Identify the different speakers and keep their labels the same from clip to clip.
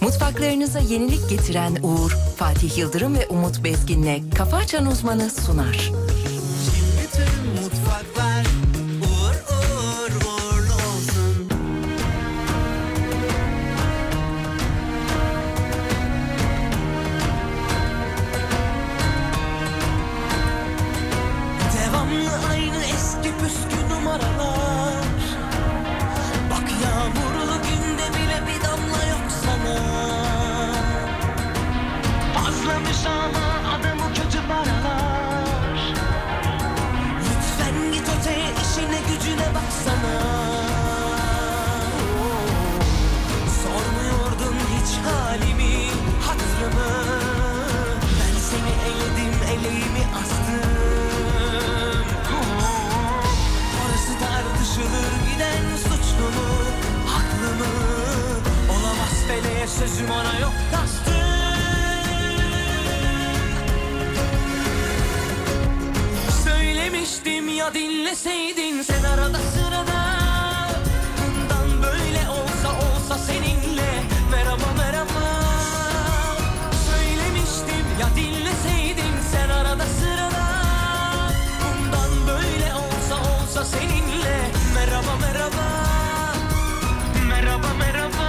Speaker 1: Mutfaklarınıza yenilik getiren Uğur, Fatih Yıldırım ve Umut Bezgin'le Kafa Açan Uzmanı sunar.
Speaker 2: Bütün mutfaklar uğur uğur uğurlu olsun. Devamlı aynı eski püskü numaralar. Bak yağmurlu günde bile bir damla yok sana. Azlamış ama adamı kötü paralar Lütfen git öteye işine gücüne baksana Sormuyordun hiç halimi, hatırımı Ben seni eledim, eleğimi astım Orası tartışılır giden suçlu mu, haklı mı? Olamaz feleğe sözüm ona yok kastım Söylemiştim ya dinleseydin sen arada sırada Bundan böyle olsa olsa seninle merhaba merhaba Söylemiştim ya dinleseydin sen arada sırada Bundan böyle olsa olsa seninle merhaba merhaba Merhaba merhaba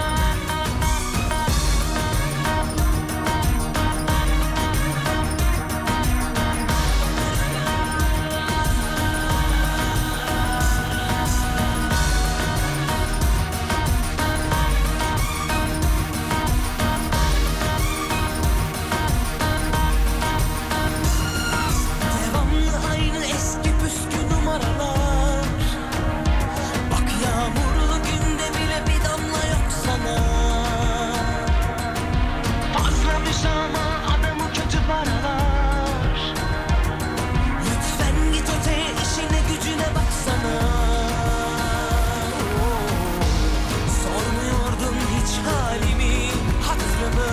Speaker 2: Devamlı aynı eski püskü numaralar Bak yağmurlu günde bile bir damla yok sana Azlamış ama adamı kötü paralar Lütfen git öteye işine gücüne baksana Sormuyordun hiç halimi, hatırımı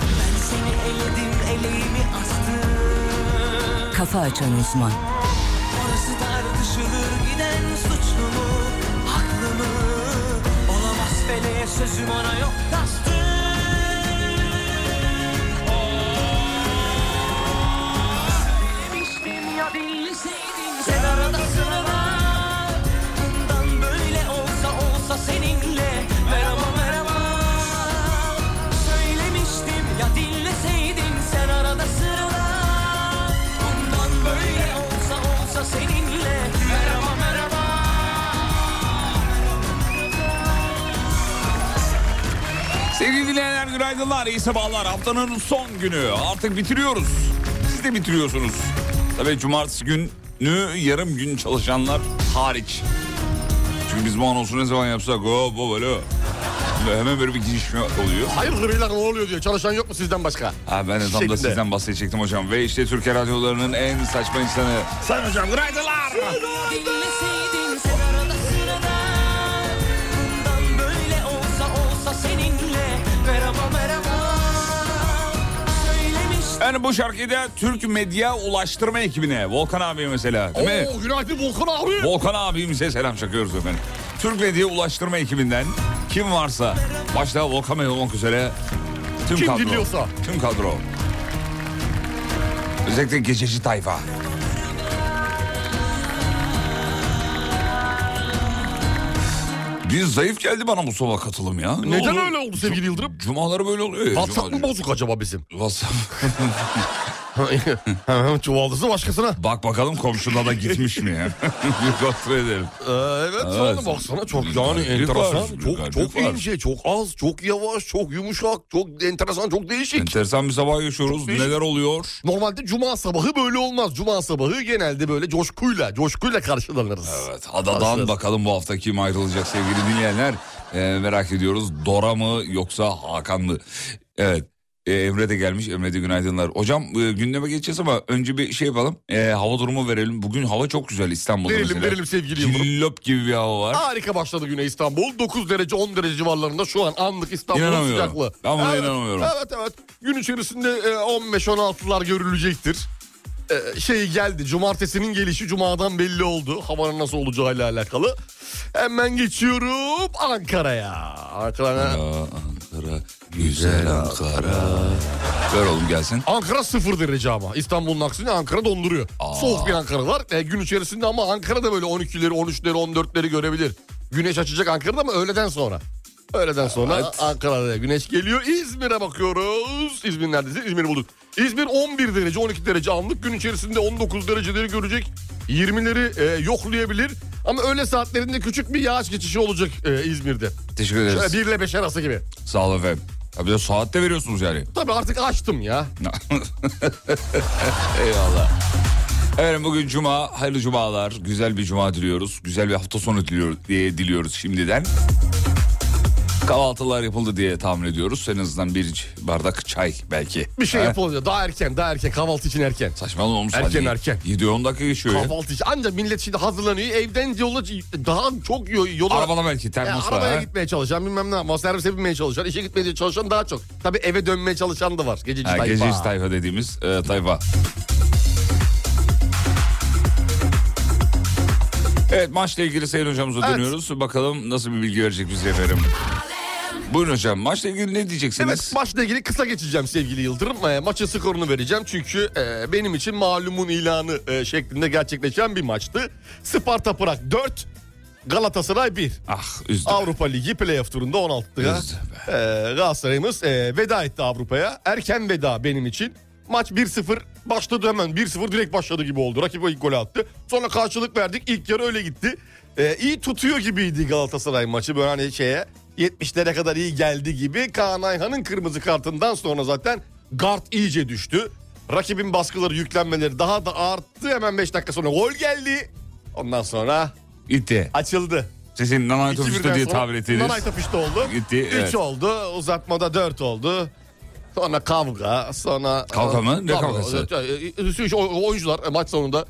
Speaker 2: Ben seni eledim, eleğimi astım
Speaker 1: Kafa Açan Uzman.
Speaker 2: Orası tartışılır giden suçlu mu, haklı mı? Olamaz feleğe sözüm ona yok kastım. Oh. Bilemiştim ya bilseydin sen arada sırada. Bundan böyle olsa olsa seninle merhaba merhaba. Söylemiştim ya dinleseydin sen arada sırada. Bundan böyle olsa olsa seninle merhaba merhaba.
Speaker 3: Sevgili dinleyenler günaydınlar, iyi sabahlar. Haftanın son günü. Artık bitiriyoruz. Siz de bitiriyorsunuz. Tabii cumartesi günü yarım gün çalışanlar hariç. Çünkü biz bu anonsu ne zaman yapsak o bu böyle. Ve hemen böyle bir girişme oluyor.
Speaker 4: Hayırdır beyler ne oluyor diyor. Çalışan yok mu sizden başka?
Speaker 3: Ha, ben de tam da
Speaker 4: Şeklinde.
Speaker 3: sizden bahsedecektim hocam. Ve işte Türkiye radyolarının en saçma insanı. Sayın hocam günaydınlar.
Speaker 2: Dinleseydin sen arada sırada. Bundan böyle olsa olsa seninle merhaba merhaba. Söylemiştim
Speaker 3: Yani bu şarkıyı da Türk medya ulaştırma ekibine. Volkan abi mesela değil mi?
Speaker 4: Oo günaydın Volkan abi.
Speaker 3: Volkan abimize selam çakıyoruz efendim. Türk Medya Ulaştırma ekibinden kim varsa başta Volkan Bey olmak üzere tüm
Speaker 4: Kim
Speaker 3: kadro.
Speaker 4: dinliyorsa.
Speaker 3: Tüm kadro. Özellikle gececi tayfa. Bir zayıf geldi bana bu sabah katılım ya. Ne
Speaker 4: Neden
Speaker 3: oldu?
Speaker 4: öyle oldu sevgili Yıldırım?
Speaker 3: Cumaları böyle oluyor. ya,
Speaker 4: WhatsApp mı
Speaker 3: cumaları.
Speaker 4: bozuk acaba bizim?
Speaker 3: WhatsApp.
Speaker 4: Çuvaldızı başkasına.
Speaker 3: Bak bakalım komşulara da gitmiş mi ya? Bir kontrol edelim.
Speaker 4: Ee, evet sana baksana çok yani
Speaker 3: Bir var,
Speaker 4: enteresan.
Speaker 3: bir
Speaker 4: Çok,
Speaker 3: var,
Speaker 4: çok
Speaker 3: bir var.
Speaker 4: ince, çok az, çok yavaş, çok yumuşak, çok enteresan, çok değişik.
Speaker 3: Enteresan bir sabah yaşıyoruz.
Speaker 4: Çok değişik.
Speaker 3: Neler oluyor?
Speaker 4: Normalde cuma sabahı böyle olmaz. Cuma sabahı genelde böyle coşkuyla, coşkuyla karşılanırız.
Speaker 3: Evet adadan
Speaker 4: Başlarız.
Speaker 3: bakalım bu hafta kim ayrılacak sevgili dinleyenler. Ee, merak ediyoruz Dora mı yoksa Hakan mı? Evet ee, Emre de gelmiş Emre de günaydınlar. Hocam e, gündeme geçeceğiz ama önce bir şey yapalım. Ee, hava durumu verelim. Bugün hava çok güzel İstanbul'da
Speaker 4: Verelim
Speaker 3: mesela.
Speaker 4: verelim sevgili Yıldırım.
Speaker 3: Cillop gibi bir hava var.
Speaker 4: Harika başladı güne İstanbul. 9 derece 10 derece civarlarında şu an anlık İstanbul'un
Speaker 3: İnanamıyorum.
Speaker 4: sıcaklığı.
Speaker 3: Ben buna
Speaker 4: evet,
Speaker 3: inanamıyorum.
Speaker 4: Evet evet. Gün içerisinde e, 15-16'lar görülecektir. E, Şey geldi cumartesinin gelişi cumadan belli oldu. Havanın nasıl olacağıyla alakalı. Hemen geçiyorum Ankara'ya. Ankara'ya
Speaker 3: Aa, Ankara Güzel Ankara. Ver oğlum gelsin.
Speaker 4: Ankara sıfır derece ama. İstanbul'un aksine Ankara donduruyor. Soğuk bir Ankara var. E, gün içerisinde ama Ankara'da böyle 12'leri, 13'leri, 14'leri görebilir. Güneş açacak Ankara'da ama öğleden sonra. Öğleden sonra Ankara'da güneş geliyor. İzmir'e bakıyoruz. İzmir neredeyse? İzmir'i bulduk. İzmir 11 derece, 12 derece anlık. Gün içerisinde 19 dereceleri görecek. 20'leri e, yoklayabilir. Ama öğle saatlerinde küçük bir yağış geçişi olacak e, İzmir'de.
Speaker 3: Teşekkür ederiz.
Speaker 4: Şöyle 1 ile 5 arası gibi.
Speaker 3: Sağ olun efendim. Ya bir de saat de veriyorsunuz yani.
Speaker 4: Tabii artık açtım ya.
Speaker 3: Eyvallah. Efendim bugün cuma. Hayırlı cumalar. Güzel bir cuma diliyoruz. Güzel bir hafta sonu diliyoruz, diye diliyoruz şimdiden. Kahvaltılar yapıldı diye tahmin ediyoruz. En azından bir bardak çay belki.
Speaker 4: Bir şey
Speaker 3: Ha?
Speaker 4: yapılacak. Daha erken, daha erken. Kahvaltı için erken.
Speaker 3: Saçmalama oğlum.
Speaker 4: Erken,
Speaker 3: saat
Speaker 4: erken.
Speaker 3: 7-10 dakika geçiyor ya.
Speaker 4: Kahvaltı için. Ancak millet şimdi hazırlanıyor. Evden yola daha çok yo- yola...
Speaker 3: Arabada belki
Speaker 4: Ya
Speaker 3: termosla.
Speaker 4: arabaya
Speaker 3: ha?
Speaker 4: gitmeye çalışan bilmem ne yapma. Servise binmeye çalışan, işe gitmeye çalışan daha çok. Tabii eve dönmeye çalışan da var. Gececi
Speaker 3: Ha,
Speaker 4: tayfa.
Speaker 3: Gececi tayfa dediğimiz e, tayfa. Evet maçla ilgili Sayın Hocamıza
Speaker 4: Evet.
Speaker 3: dönüyoruz. Bakalım nasıl bir bilgi verecek bize efendim. Buyurun hocam maçla ilgili ne diyeceksiniz?
Speaker 4: Evet maçla ilgili kısa geçeceğim sevgili Yıldırım. E, maçın skorunu vereceğim çünkü e, benim için malumun ilanı e, şeklinde gerçekleşen bir maçtı. Sparta Prag 4, Galatasaray 1.
Speaker 3: Ah üzdü.
Speaker 4: Avrupa Ligi playoff turunda 16'lıya.
Speaker 3: Üzdü
Speaker 4: Ee, Galatasaray'ımız e, veda etti Avrupa'ya. Erken veda benim için. Maç 1-0 başladı hemen. 1-0 direkt başladı gibi oldu. Rakip ilk golü attı. Sonra karşılık verdik. İlk yarı öyle gitti. Ee, iyi tutuyor gibiydi Galatasaray maçı. Böyle hani şeye 70'lere kadar iyi geldi gibi. Kaan Ayhan'ın kırmızı kartından sonra zaten guard iyice düştü. Rakibin baskıları, yüklenmeleri daha da arttı. Hemen 5 dakika sonra gol geldi. Ondan sonra
Speaker 3: Gitti.
Speaker 4: açıldı.
Speaker 3: Sesin nanay
Speaker 4: İki
Speaker 3: otobüste
Speaker 4: birden
Speaker 3: diye
Speaker 4: sonra
Speaker 3: tabir ettiğiniz.
Speaker 4: Nanay tapışta oldu.
Speaker 3: Gitti,
Speaker 4: 3
Speaker 3: evet.
Speaker 4: oldu. Uzatmada 4 oldu. Sonra kavga, sonra... e,
Speaker 3: Kavga mı? Ne kavgası?
Speaker 4: Evet, evet. O- Oyuncular e, maç sonunda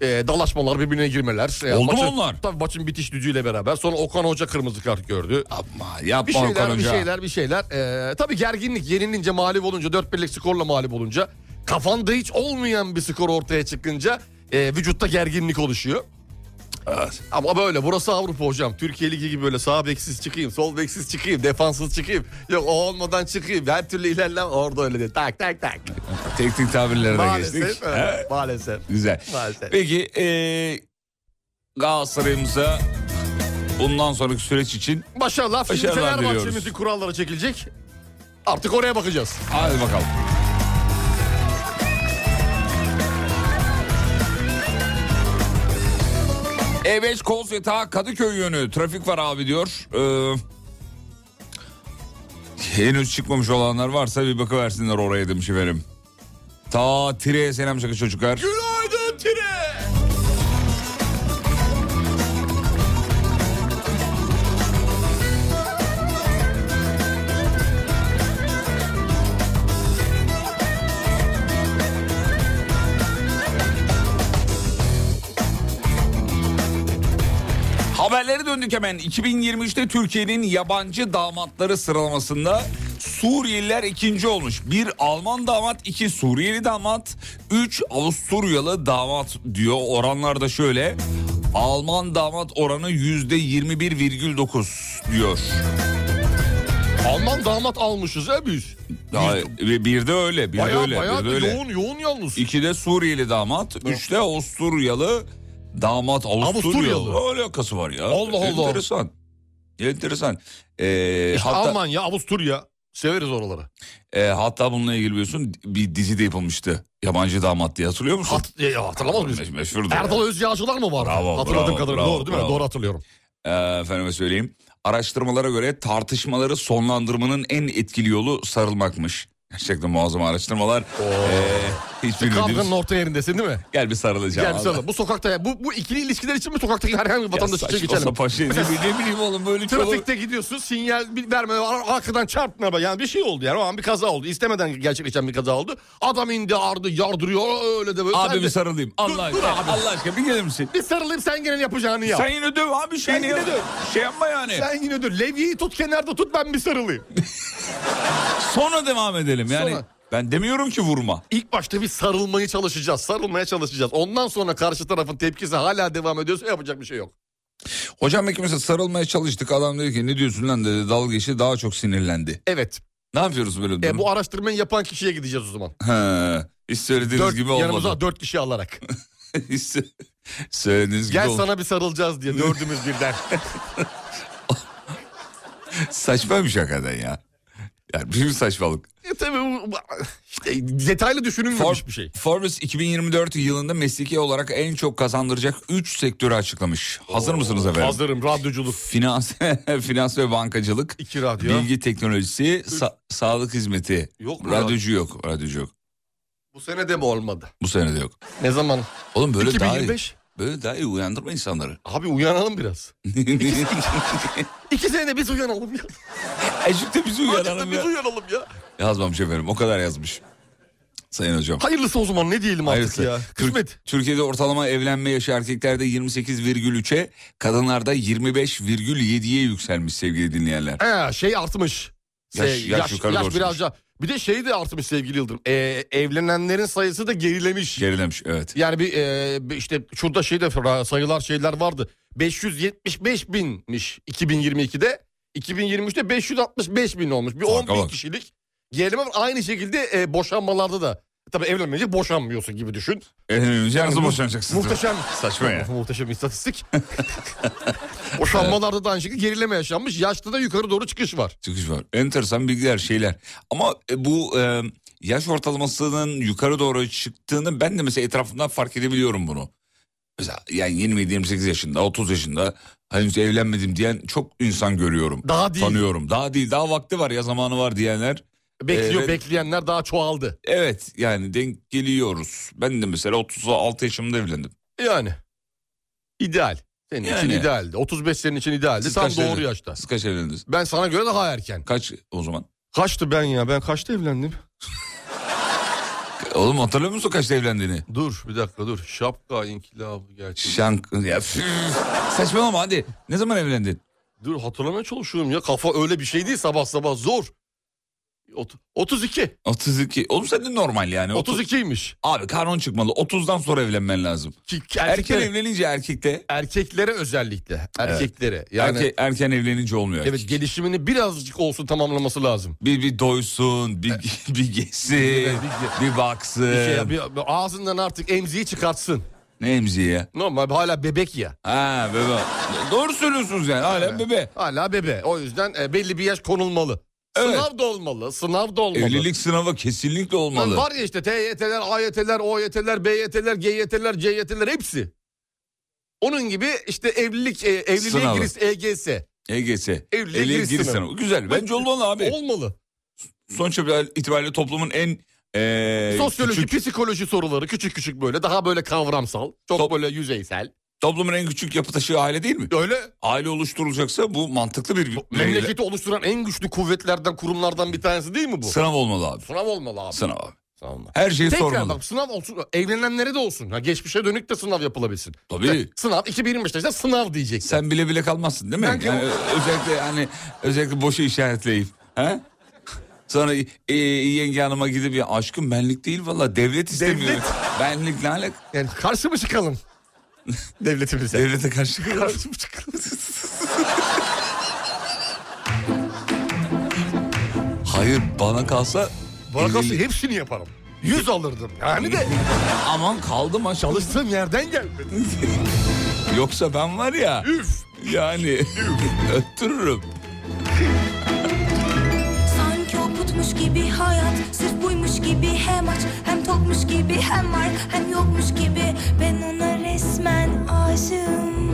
Speaker 4: e, dalaşmalar, birbirine girmeler. E,
Speaker 3: Oldu mu
Speaker 4: maçın-
Speaker 3: onlar?
Speaker 4: Tabii maçın bitiş düdüğüyle beraber. Sonra Okan Hoca kırmızı kart gördü.
Speaker 3: Yapma yapma
Speaker 4: Bir şeyler,
Speaker 3: Okan
Speaker 4: bir
Speaker 3: Hoca.
Speaker 4: şeyler, bir şeyler. E, tabii gerginlik yenilince, mağlup olunca, 4-1'lik skorla mağlup olunca... Kafanda hiç olmayan bir skor ortaya çıkınca e, vücutta gerginlik oluşuyor.
Speaker 3: Evet.
Speaker 4: Ama böyle burası Avrupa hocam. Türkiye Ligi gibi böyle sağ beksiz çıkayım, sol beksiz çıkayım, defanssız çıkayım. Yok o olmadan çıkayım. Her türlü ilerlem orada öyle değil. Tak tak tak.
Speaker 3: Teknik tabirlere de geçtik.
Speaker 4: Maalesef.
Speaker 3: Evet.
Speaker 4: Evet, maalesef.
Speaker 3: Güzel.
Speaker 4: Maalesef.
Speaker 3: Peki e, Galatasaray'ımıza bundan sonraki süreç için
Speaker 4: Başarılar. Şimdi
Speaker 3: Başarılar
Speaker 4: Fenerbahçe'mizin
Speaker 3: diliyoruz.
Speaker 4: kuralları çekilecek. Artık oraya bakacağız.
Speaker 3: hadi bakalım. E5 Koz Yatağı Kadıköy yönü trafik var abi diyor. Ee, henüz çıkmamış olanlar varsa bir bakıversinler oraya demiş efendim. Ta Tire'ye selam çakı çocuklar.
Speaker 4: Günaydın Tire.
Speaker 3: Haberlere döndük hemen. 2023'te Türkiye'nin yabancı damatları sıralamasında Suriyeliler ikinci olmuş. Bir Alman damat, iki Suriyeli damat, üç Avusturyalı damat diyor. Oranlar da şöyle. Alman damat oranı yüzde 21,9 diyor.
Speaker 4: Alman damat almışız he biz.
Speaker 3: Daha, ve bir de öyle, bir de
Speaker 4: Baya
Speaker 3: öyle,
Speaker 4: baya
Speaker 3: bir de öyle.
Speaker 4: yoğun yoğun yalnız.
Speaker 3: İki de Suriyeli damat, üç de Avusturyalı damat. Avusturyalı.
Speaker 4: Avusturyalı.
Speaker 3: Ne alakası var ya?
Speaker 4: Allah Allah.
Speaker 3: Enteresan. Enteresan. Ee,
Speaker 4: İşte
Speaker 3: hatta,
Speaker 4: Almanya, Avusturya. Severiz oraları.
Speaker 3: e, hatta bununla ilgili biliyorsun bir dizi de yapılmıştı. Yabancı damat diye hatırlıyor musun?
Speaker 4: Hat, ya, ya, hatırlamaz mıyız?
Speaker 3: Meş- meşhurdu ya.
Speaker 4: Erdal Özyağcılar mı vardı?
Speaker 3: Bravo,
Speaker 4: Hatırladığım
Speaker 3: bravo,
Speaker 4: kadarıyla.
Speaker 3: bravo,
Speaker 4: doğru değil mi?
Speaker 3: bravo.
Speaker 4: Doğru hatırlıyorum.
Speaker 3: Ee, efendime söyleyeyim. Araştırmalara göre tartışmaları sonlandırmanın en etkili yolu sarılmakmış. Gerçekten muazzam araştırmalar. Ee, hiç
Speaker 4: Kavganın
Speaker 3: bilmediğimiz...
Speaker 4: orta yerindesin değil mi?
Speaker 3: Gel bir sarılacağım.
Speaker 4: Yani
Speaker 3: Allah.
Speaker 4: sana bu sokakta bu, bu ikili ilişkiler için mi sokaktaki herhangi bir
Speaker 3: Ya
Speaker 4: vatandaş için
Speaker 3: saçma
Speaker 4: geçelim?
Speaker 3: sapan şey. Ne ne bileyim oğlum böyle çok...
Speaker 4: Trafikte gidiyorsun sinyal bir- verme ar- arkadan çarptın araba yani bir şey oldu yani o an bir kaza oldu istemeden gerçekleşen bir kaza oldu adam indi ardı yardırıyor öyle de böyle
Speaker 3: Abi
Speaker 4: Sen
Speaker 3: bir
Speaker 4: de,
Speaker 3: sarılayım. Allah
Speaker 4: dur
Speaker 3: aşkına. Allah aşkına bir gelir misin?
Speaker 4: bir sarılayım sen gene yapacağını yap
Speaker 3: Sen yine döv abi şeyini
Speaker 4: yine
Speaker 3: yap.
Speaker 4: döv.
Speaker 3: Şey yapma yani.
Speaker 4: sen yine dur levyeyi tut kenarda tut ben bir sarılayım
Speaker 3: Sonra devam edelim yani.
Speaker 4: Sonra.
Speaker 3: Ben demiyorum ki vurma.
Speaker 4: İlk başta bir sarılmayı çalışacağız sarılmaya çalışacağız ondan sonra karşı tarafın tepkisi hala devam ediyorsa yapacak bir şey yok
Speaker 3: Hocam ikimiz de sarılmaya çalıştık. Adam dedi ki ne diyorsun lan dedi. Dalga geçti daha çok sinirlendi.
Speaker 4: evet
Speaker 3: Ne Ne yapıyoruz böyle bir
Speaker 4: E,
Speaker 3: durum?
Speaker 4: bu araştırmayı yapan kişiye gideceğiz o zaman.
Speaker 3: He, hiç söylediğiniz
Speaker 4: Dört,
Speaker 3: gibi
Speaker 4: yanımıza
Speaker 3: olmadı.
Speaker 4: dört kişi alarak.
Speaker 3: Hiç sö- söylediğiniz gibi
Speaker 4: Gel
Speaker 3: olmadı.
Speaker 4: sana bir sarılacağız diye dördümüz birden.
Speaker 3: Saçmaymış hakikaten ya. Yani bir saçmalık.
Speaker 4: E, tabii bu, bu- işte detaylı düşünülmemiş bir şey.
Speaker 3: Forbes 2024 yılında mesleki olarak en çok kazandıracak 3 sektörü açıklamış. Hazır mısınız efendim?
Speaker 4: Hazırım radyoculuk.
Speaker 3: Finans, finans ve bankacılık,
Speaker 4: İki radyo.
Speaker 3: bilgi teknolojisi, sa- sağlık hizmeti.
Speaker 4: Yok mu
Speaker 3: Radyocu yok, radyocu yok.
Speaker 4: Bu sene de mi olmadı?
Speaker 3: Bu sene de yok.
Speaker 4: Ne zaman?
Speaker 3: Oğlum böyle daha iyi.
Speaker 4: 2025.
Speaker 3: Böyle daha iyi uyandırma insanları.
Speaker 4: Abi uyanalım biraz. İki senede biz uyanalım ya.
Speaker 3: Ecikte bizi
Speaker 4: Uyanalım
Speaker 3: uyanalım
Speaker 4: biz
Speaker 3: ya.
Speaker 4: uyanalım ya.
Speaker 3: Yazmamış efendim o kadar yazmış. Sayın hocam.
Speaker 4: Hayırlısı o zaman ne diyelim artık
Speaker 3: Hayırlısı.
Speaker 4: ya.
Speaker 3: Tür-
Speaker 4: Kısmet.
Speaker 3: Türkiye'de ortalama evlenme yaşı erkeklerde 28,3'e, kadınlarda 25,7'ye yükselmiş sevgili dinleyenler.
Speaker 4: He, şey artmış.
Speaker 3: Yaş-
Speaker 4: Şey,
Speaker 3: yaş yukarı doğru
Speaker 4: biraz daha. Bir de şey de artmış sevgili Yıldırım. Ee, evlenenlerin sayısı da gerilemiş.
Speaker 3: Gerilemiş evet.
Speaker 4: yani bir e, bir işte şurada şey de ra- sayılar şeyler vardı. 575 binmiş 2022'de. 2023'te 565 bin olmuş. Bir 10
Speaker 3: Farka
Speaker 4: bin
Speaker 3: bak.
Speaker 4: kişilik gerileme var. Aynı şekilde e, boşanmalarda da. Tabii evlenmeyince boşanmıyorsun gibi düşün.
Speaker 3: Evlenince nasıl
Speaker 4: mu-
Speaker 3: boşanacaksınız?
Speaker 4: Muhteşem.
Speaker 3: Saçma ya.
Speaker 4: Muhteşem istatistik. Boşanmalarda da aynı şekilde gerileme yaşanmış. Yaşta da yukarı doğru çıkış var.
Speaker 3: Çıkış var. Enteresan bilgiler şeyler. Ama e, bu e, yaş ortalamasının yukarı doğru çıktığını ben de mesela etrafımdan fark edebiliyorum bunu. Mesela yani 27-28 yaşında 30 yaşında henüz evlenmedim diyen çok insan görüyorum.
Speaker 4: Daha değil.
Speaker 3: Tanıyorum. Daha değil daha vakti var ya zamanı var diyenler.
Speaker 4: Bekliyor,
Speaker 3: Evet.
Speaker 4: bekleyenler daha çoğaldı.
Speaker 3: Evet yani denk geliyoruz. Ben de mesela 36 yaşımda evlendim.
Speaker 4: Yani. İdeal. Senin için
Speaker 3: Yani.
Speaker 4: idealdi. 35 senin için idealdi.
Speaker 3: Siz
Speaker 4: Tam
Speaker 3: kaç
Speaker 4: doğru
Speaker 3: evlendiniz?
Speaker 4: yaşta.
Speaker 3: Siz kaç evlendiniz?
Speaker 4: Ben sana göre daha erken.
Speaker 3: Kaç o zaman?
Speaker 4: Kaçtı ben ya? Ben kaçta evlendim?
Speaker 3: Oğlum hatırlıyor musun kaçta evlendiğini?
Speaker 4: Dur bir dakika dur. Şapka inkılabı gerçi.
Speaker 3: Şank... Ya, üf. saçmalama hadi. Ne zaman evlendin?
Speaker 4: Dur hatırlamaya çalışıyorum ya. Kafa öyle bir şey değil sabah sabah zor. Ot- 32.
Speaker 3: 32. Oğlum sen de normal yani. 30...
Speaker 4: 32'ymiş.
Speaker 3: Abi kanun çıkmalı. 30'dan sonra evlenmen lazım.
Speaker 4: Ki-
Speaker 3: Erken
Speaker 4: erkeklere-
Speaker 3: evlenince erkekte.
Speaker 4: erkeklere özellikle. Erkeklere. Yani
Speaker 3: Yani... erken evlenince olmuyor.
Speaker 4: evet gelişimini birazcık olsun tamamlaması lazım.
Speaker 3: Bir, bir doysun, bir, bir gezsin,
Speaker 4: Bir- şey
Speaker 3: bir baksın.
Speaker 4: Bir şey ya, bir- bir ağzından artık emziği çıkartsın.
Speaker 3: Ne emziği ya?
Speaker 4: Normal hala bebek ya.
Speaker 3: Ha bebe. Doğru söylüyorsunuz yani. Hala bebe.
Speaker 4: Hala bebe. O yüzden e, belli bir yaş konulmalı.
Speaker 3: Evet.
Speaker 4: Sınav da olmalı. Sınav da olmalı.
Speaker 3: Evlilik sınavı kesinlikle
Speaker 4: Lan
Speaker 3: olmalı.
Speaker 4: Var ya işte TYT'ler, AYT'ler, OYT'ler, BYT'ler, GYT'ler, CYT'ler hepsi. Onun gibi işte evlilik e, evliliğe
Speaker 3: Sınavı.
Speaker 4: giriş EGS
Speaker 3: EGS.
Speaker 4: Evliliğe
Speaker 3: Evliliğe
Speaker 4: giriş
Speaker 3: giriş
Speaker 4: sınavı.
Speaker 3: sınavı. Güzel. Bence olmalı abi.
Speaker 4: olmalı.
Speaker 3: Sonuç itibariyle toplumun en... eee,
Speaker 4: Sosyoloji,
Speaker 3: küçük-
Speaker 4: psikoloji soruları küçük küçük böyle daha böyle kavramsal, çok
Speaker 3: Top-
Speaker 4: böyle yüzeysel.
Speaker 3: toplumun en küçük yapı taşı aile değil mi?
Speaker 4: Öyle
Speaker 3: Aile oluşturulacaksa bu mantıklı bir...
Speaker 4: memleketi oluşturan en güçlü kuvvetlerden, kurumlardan bir tanesi değil mi bu?
Speaker 3: Sınav olmalı abi.
Speaker 4: Sınav olmalı abi.
Speaker 3: Sınav abi.
Speaker 4: Sınav olmalı.
Speaker 3: Her şeyi
Speaker 4: Tekrar
Speaker 3: sormalı.
Speaker 4: bak sınav olsun. Evlenenlere de olsun. Ha, geçmişe dönük de sınav yapılabilsin.
Speaker 3: Tabii.
Speaker 4: İşte sınav 2025'te işte sınav diyeceksin.
Speaker 3: Sen bile bile kalmazsın değil mi?
Speaker 4: Ben-
Speaker 3: yani ö- özellikle yani özellikle boşu işaretleyip. He? Sonra e, yenge hanıma gidip ya aşkım benlik değil valla devlet istemiyor.
Speaker 4: Devlet.
Speaker 3: Benlik ne alak?
Speaker 4: Yani karşı mı çıkalım? Devletimize.
Speaker 3: Devlete karşı
Speaker 4: karşı mı çıkalım?
Speaker 3: Hayır bana kalsa
Speaker 4: Bana kalsın
Speaker 3: evlilik-
Speaker 4: hepsini yaparım. Yüz alırdım. Yani de
Speaker 3: aman kaldım aşağı.
Speaker 4: çalıştığım yerden gelmedi.
Speaker 3: Yoksa ben var ya
Speaker 4: Üf.
Speaker 3: yani öttürürüm.
Speaker 5: Sanki o putmuş gibi hayat Sırf buymuş gibi hem aç Hem tokmuş gibi hem var Hem yokmuş gibi Ben ona resmen aşığım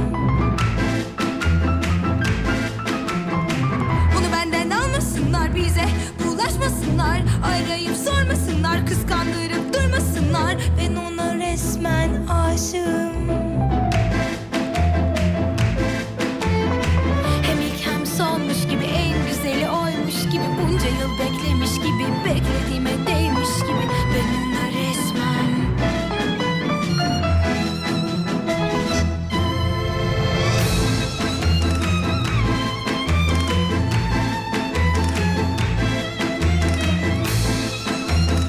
Speaker 5: Bunu benden almasınlar bize Bulaşmasınlar Arayıp sormasınlar Kıskandırıp durmasınlar Ben ona resmen aşığım Hem ilk hem sonmuş gibi en güzeli oymuş gibi Bunca yıl beklemiş gibi beklediğime değmiş gibi Ben ona resmen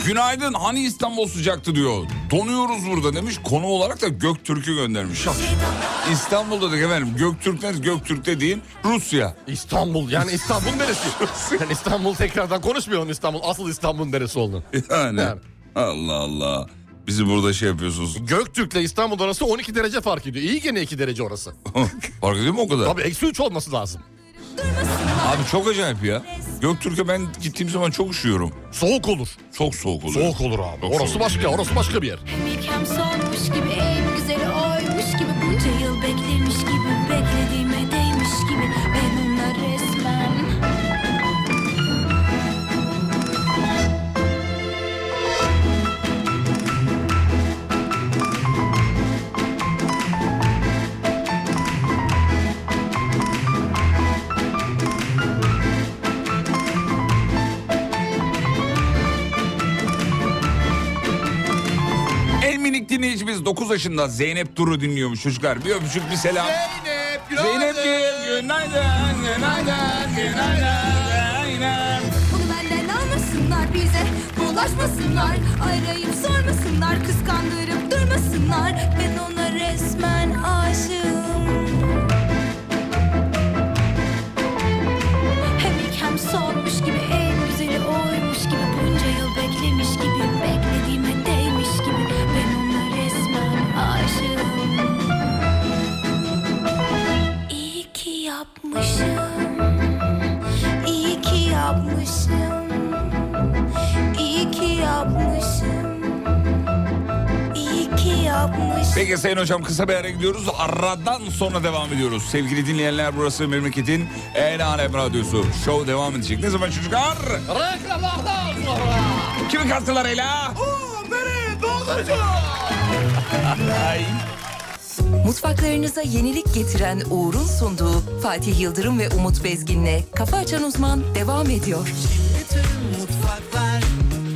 Speaker 3: Günaydın hani İstanbul sıcaktı diyor. Donuyoruz burada demiş. Konu olarak da Göktürk'ü göndermiş. İstanbul'da da efendim Göktürk ne? Göktürk dediğin Rusya.
Speaker 4: İstanbul yani İstanbul neresi? yani İstanbul tekrardan konuşmayalım İstanbul. Asıl İstanbul neresi olduğunu.
Speaker 3: Yani.
Speaker 4: Yani.
Speaker 3: Allah Allah. Bizi burada şey yapıyorsunuz.
Speaker 4: Göktürk'le İstanbul arası 12 derece fark ediyor. İyi gene 2 derece orası.
Speaker 3: Fark ediyor mu o kadar?
Speaker 4: Tabii eksi 3 olması lazım.
Speaker 3: Abi çok acayip ya. Göktürk'e ben gittiğim zaman çok üşüyorum.
Speaker 4: Soğuk olur.
Speaker 3: Çok soğuk oluyor.
Speaker 4: Soğuk olur abi.
Speaker 3: Çok
Speaker 4: orası
Speaker 3: soğuk.
Speaker 4: başka, orası başka bir yer.
Speaker 5: Bilkem sormuş gibi en güzeli oymuş gibi Bunca yıl beklemiş gibi beklediğime değmiş gibi Ben ona resmen
Speaker 3: En minik dinleyicimiz 9 yaşında Zeynep Duru dinliyormuş çocuklar. Bir öpücük bir selam.
Speaker 4: Zeynep,
Speaker 3: Zeynep'ciğim günaydın, günaydın, günaydın, günaydın.
Speaker 5: Bunu benden almasınlar bize Bulaşmasınlar Arayıp sormasınlar Kıskandırıp durmasınlar Ben ona resmen aşığım Hem ilk hem sormuş gibi En güzeli oymuş gibi Bunca yıl beklemiş gibi Beklediğime değmiş gibi Ben ona resmen aşığım İyi ki yapmışım İyi ki yapmışım. İyi ki yapmışım. İyi ki yapmışım.
Speaker 3: Peki Sayın Hocam kısa bir ara gidiyoruz. Aradan sonra devam ediyoruz. Sevgili dinleyenler burası memleketin en alem radyosu. Show devam edecek. Ne zaman çocuklar?
Speaker 4: Reklamlardan sonra.
Speaker 3: Kimin katkılarıyla?
Speaker 4: Oo, beni dondurucu.
Speaker 1: Mutfaklarınıza yenilik getiren Uğur'un sunduğu Fatih Yıldırım ve Umut Bezgin'le Kafa Açan Uzman devam ediyor.
Speaker 6: Bütün mutfaklar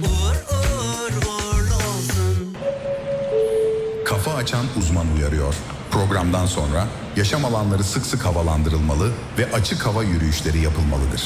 Speaker 6: uğur uğur uğurlu olsun
Speaker 7: Kafa açan uzman uyarıyor. Programdan sonra yaşam alanları sık sık havalandırılmalı ve açık hava yürüyüşleri yapılmalıdır.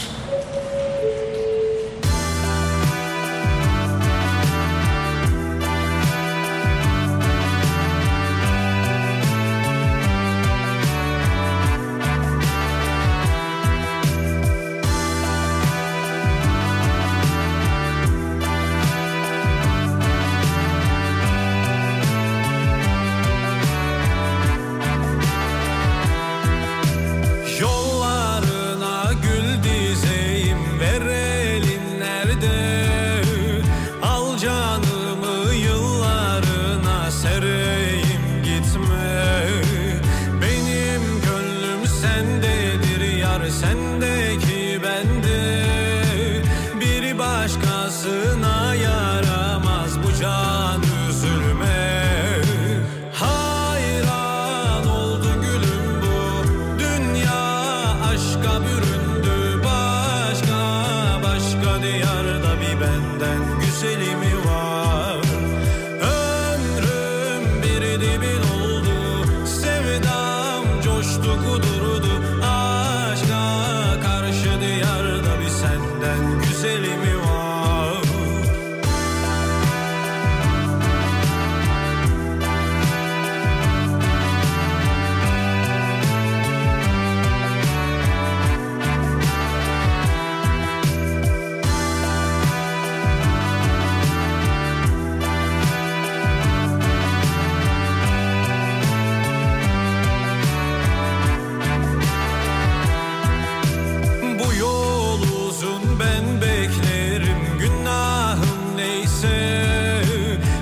Speaker 6: Yollarına gül dizeyim verelim nerede Al canımı yıllarına sereyim gitme Benim gönlüm sendedir yar sendeki bende Bir başkasına yaramaz bu can üzülme Hayran oldu gülüm bu Dünya aşka büründü Başka başka diyarda bir benden güzeli mi var Ömrüm bir dibin oldu Sevdam coştu kudurdu Aşka karşı diyarda bir senden güzeli mi var Bu yol uzun ben beklerim günahım neyse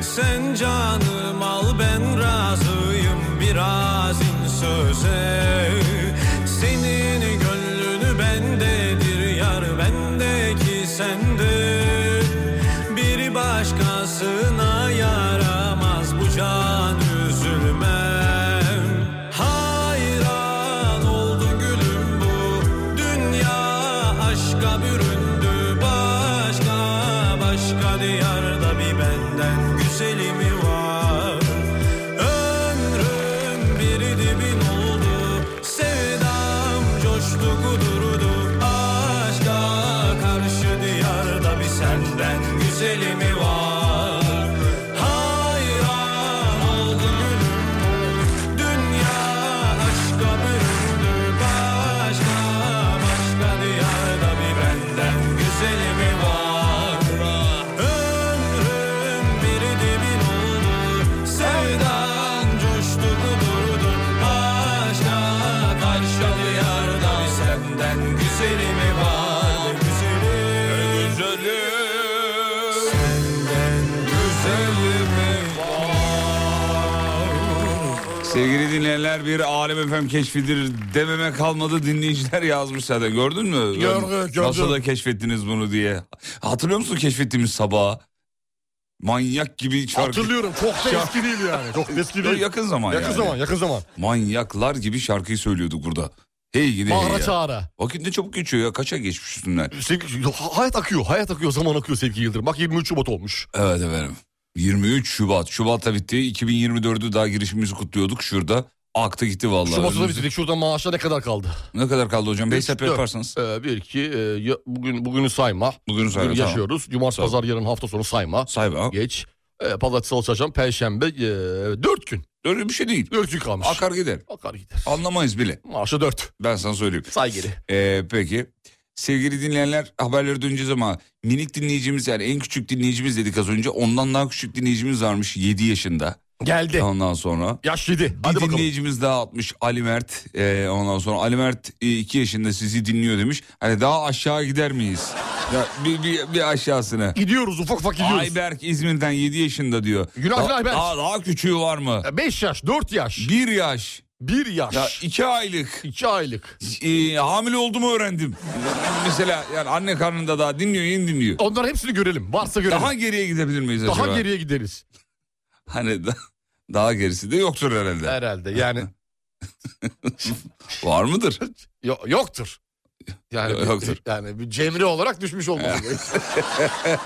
Speaker 6: Sen canım al ben razıyım biraz in söze Senin gönlünü bendedir yar bendeki sende Bir başkasına yaramaz bu can üzülmem Hayran oldu gülüm bu Dünya aşka büründü Başka başka diyarda bir benden güzeli mi var Ömrüm bir dibin oldu Sevdam coştu kudurdu Aşka karşı diyarda bir senden güzeli mi var
Speaker 3: Sevgili dinleyenler bir Alem efem keşfidir dememe kalmadı dinleyiciler yazmış zaten gördün mü?
Speaker 8: Gördük, gördüm.
Speaker 3: Nasıl da keşfettiniz bunu diye. Hatırlıyor musun keşfettiğimiz sabah? Manyak gibi şarkı.
Speaker 4: Hatırlıyorum çok da eski değil yani. Çok da eski
Speaker 3: Yo,
Speaker 4: değil.
Speaker 3: Yakın zaman
Speaker 4: Yakın
Speaker 3: yani.
Speaker 4: zaman yakın zaman.
Speaker 3: Manyaklar gibi şarkıyı söylüyorduk burada. Hey gidi hey
Speaker 4: Bağıra
Speaker 3: ya.
Speaker 4: çağıra.
Speaker 3: Vakit ne çabuk geçiyor ya kaça geçmiş üstünden.
Speaker 4: Sevgi- Yo, ha- hayat akıyor hayat akıyor zaman akıyor sevgili Yıldırım. Bak 23 Şubat olmuş.
Speaker 3: Evet efendim. 23 Şubat. Şubat'ta bitti. 2024'ü daha girişimimizi kutluyorduk şurada. Aktı gitti vallahi.
Speaker 4: Şubat'ı da
Speaker 3: Önümüz-
Speaker 4: bitirdik. Şurada maaşa ne kadar kaldı?
Speaker 3: Ne kadar kaldı hocam? 5
Speaker 4: Üç,
Speaker 3: hesap
Speaker 4: dört.
Speaker 3: yaparsanız.
Speaker 4: Ee, bir iki e, ya- bugün bugünü sayma.
Speaker 3: Bugünü sayma,
Speaker 4: Bugün
Speaker 3: tamam.
Speaker 4: yaşıyoruz. Cumartesi,
Speaker 3: Tamam.
Speaker 4: pazar, yarın hafta sonu sayma.
Speaker 3: Say be. ha.
Speaker 4: Geç. E, pazartesi, salı, çarşamba, perşembe. E, dört gün.
Speaker 3: Öyle bir şey değil.
Speaker 4: Dört gün kalmış.
Speaker 3: Akar gider.
Speaker 4: Akar gider.
Speaker 3: Anlamayız bile.
Speaker 4: Maaşı dört.
Speaker 3: Ben sana söyleyeyim.
Speaker 4: Say geri.
Speaker 3: Ee, peki. Sevgili dinleyenler haberlere döneceğiz ama minik dinleyicimiz yani en küçük dinleyicimiz dedik az önce. Ondan daha küçük dinleyicimiz varmış 7 yaşında.
Speaker 4: Geldi.
Speaker 3: Ondan sonra.
Speaker 4: Yaş yedi.
Speaker 3: Bir
Speaker 4: Hadi bakalım.
Speaker 3: dinleyicimiz daha atmış Ali Mert. Ee, ondan sonra Ali Mert 2 yaşında sizi dinliyor demiş. Hani daha aşağı gider miyiz? Ya, bir, bir, bir aşağısına.
Speaker 4: Gidiyoruz ufak ufak gidiyoruz.
Speaker 3: Ayberk İzmir'den 7 yaşında diyor.
Speaker 4: Günaydın
Speaker 3: Da-
Speaker 4: Ayberk.
Speaker 3: Daha, daha küçüğü var mı?
Speaker 4: Ya Beş yaş, dört yaş,
Speaker 3: 1 yaş.
Speaker 4: bir yaş,
Speaker 3: Ya 2 aylık.
Speaker 4: iki aylık.
Speaker 3: e, hamile olduğumu öğrendim. Mesela yani anne karnında daha dinliyor yeni dinliyor.
Speaker 4: Onların hepsini görelim. Varsa görelim.
Speaker 3: Daha
Speaker 4: Daha,
Speaker 3: geriye gidebilir miyiz acaba?
Speaker 4: geriye gideriz.
Speaker 3: Hani da- daha gerisi de yoktur herhalde.
Speaker 4: Herhalde yani.
Speaker 3: Var mıdır?
Speaker 4: Yo- yoktur. Yani bir-
Speaker 3: Yoktur.
Speaker 4: yani bir cemre olarak düşmüş olmalı.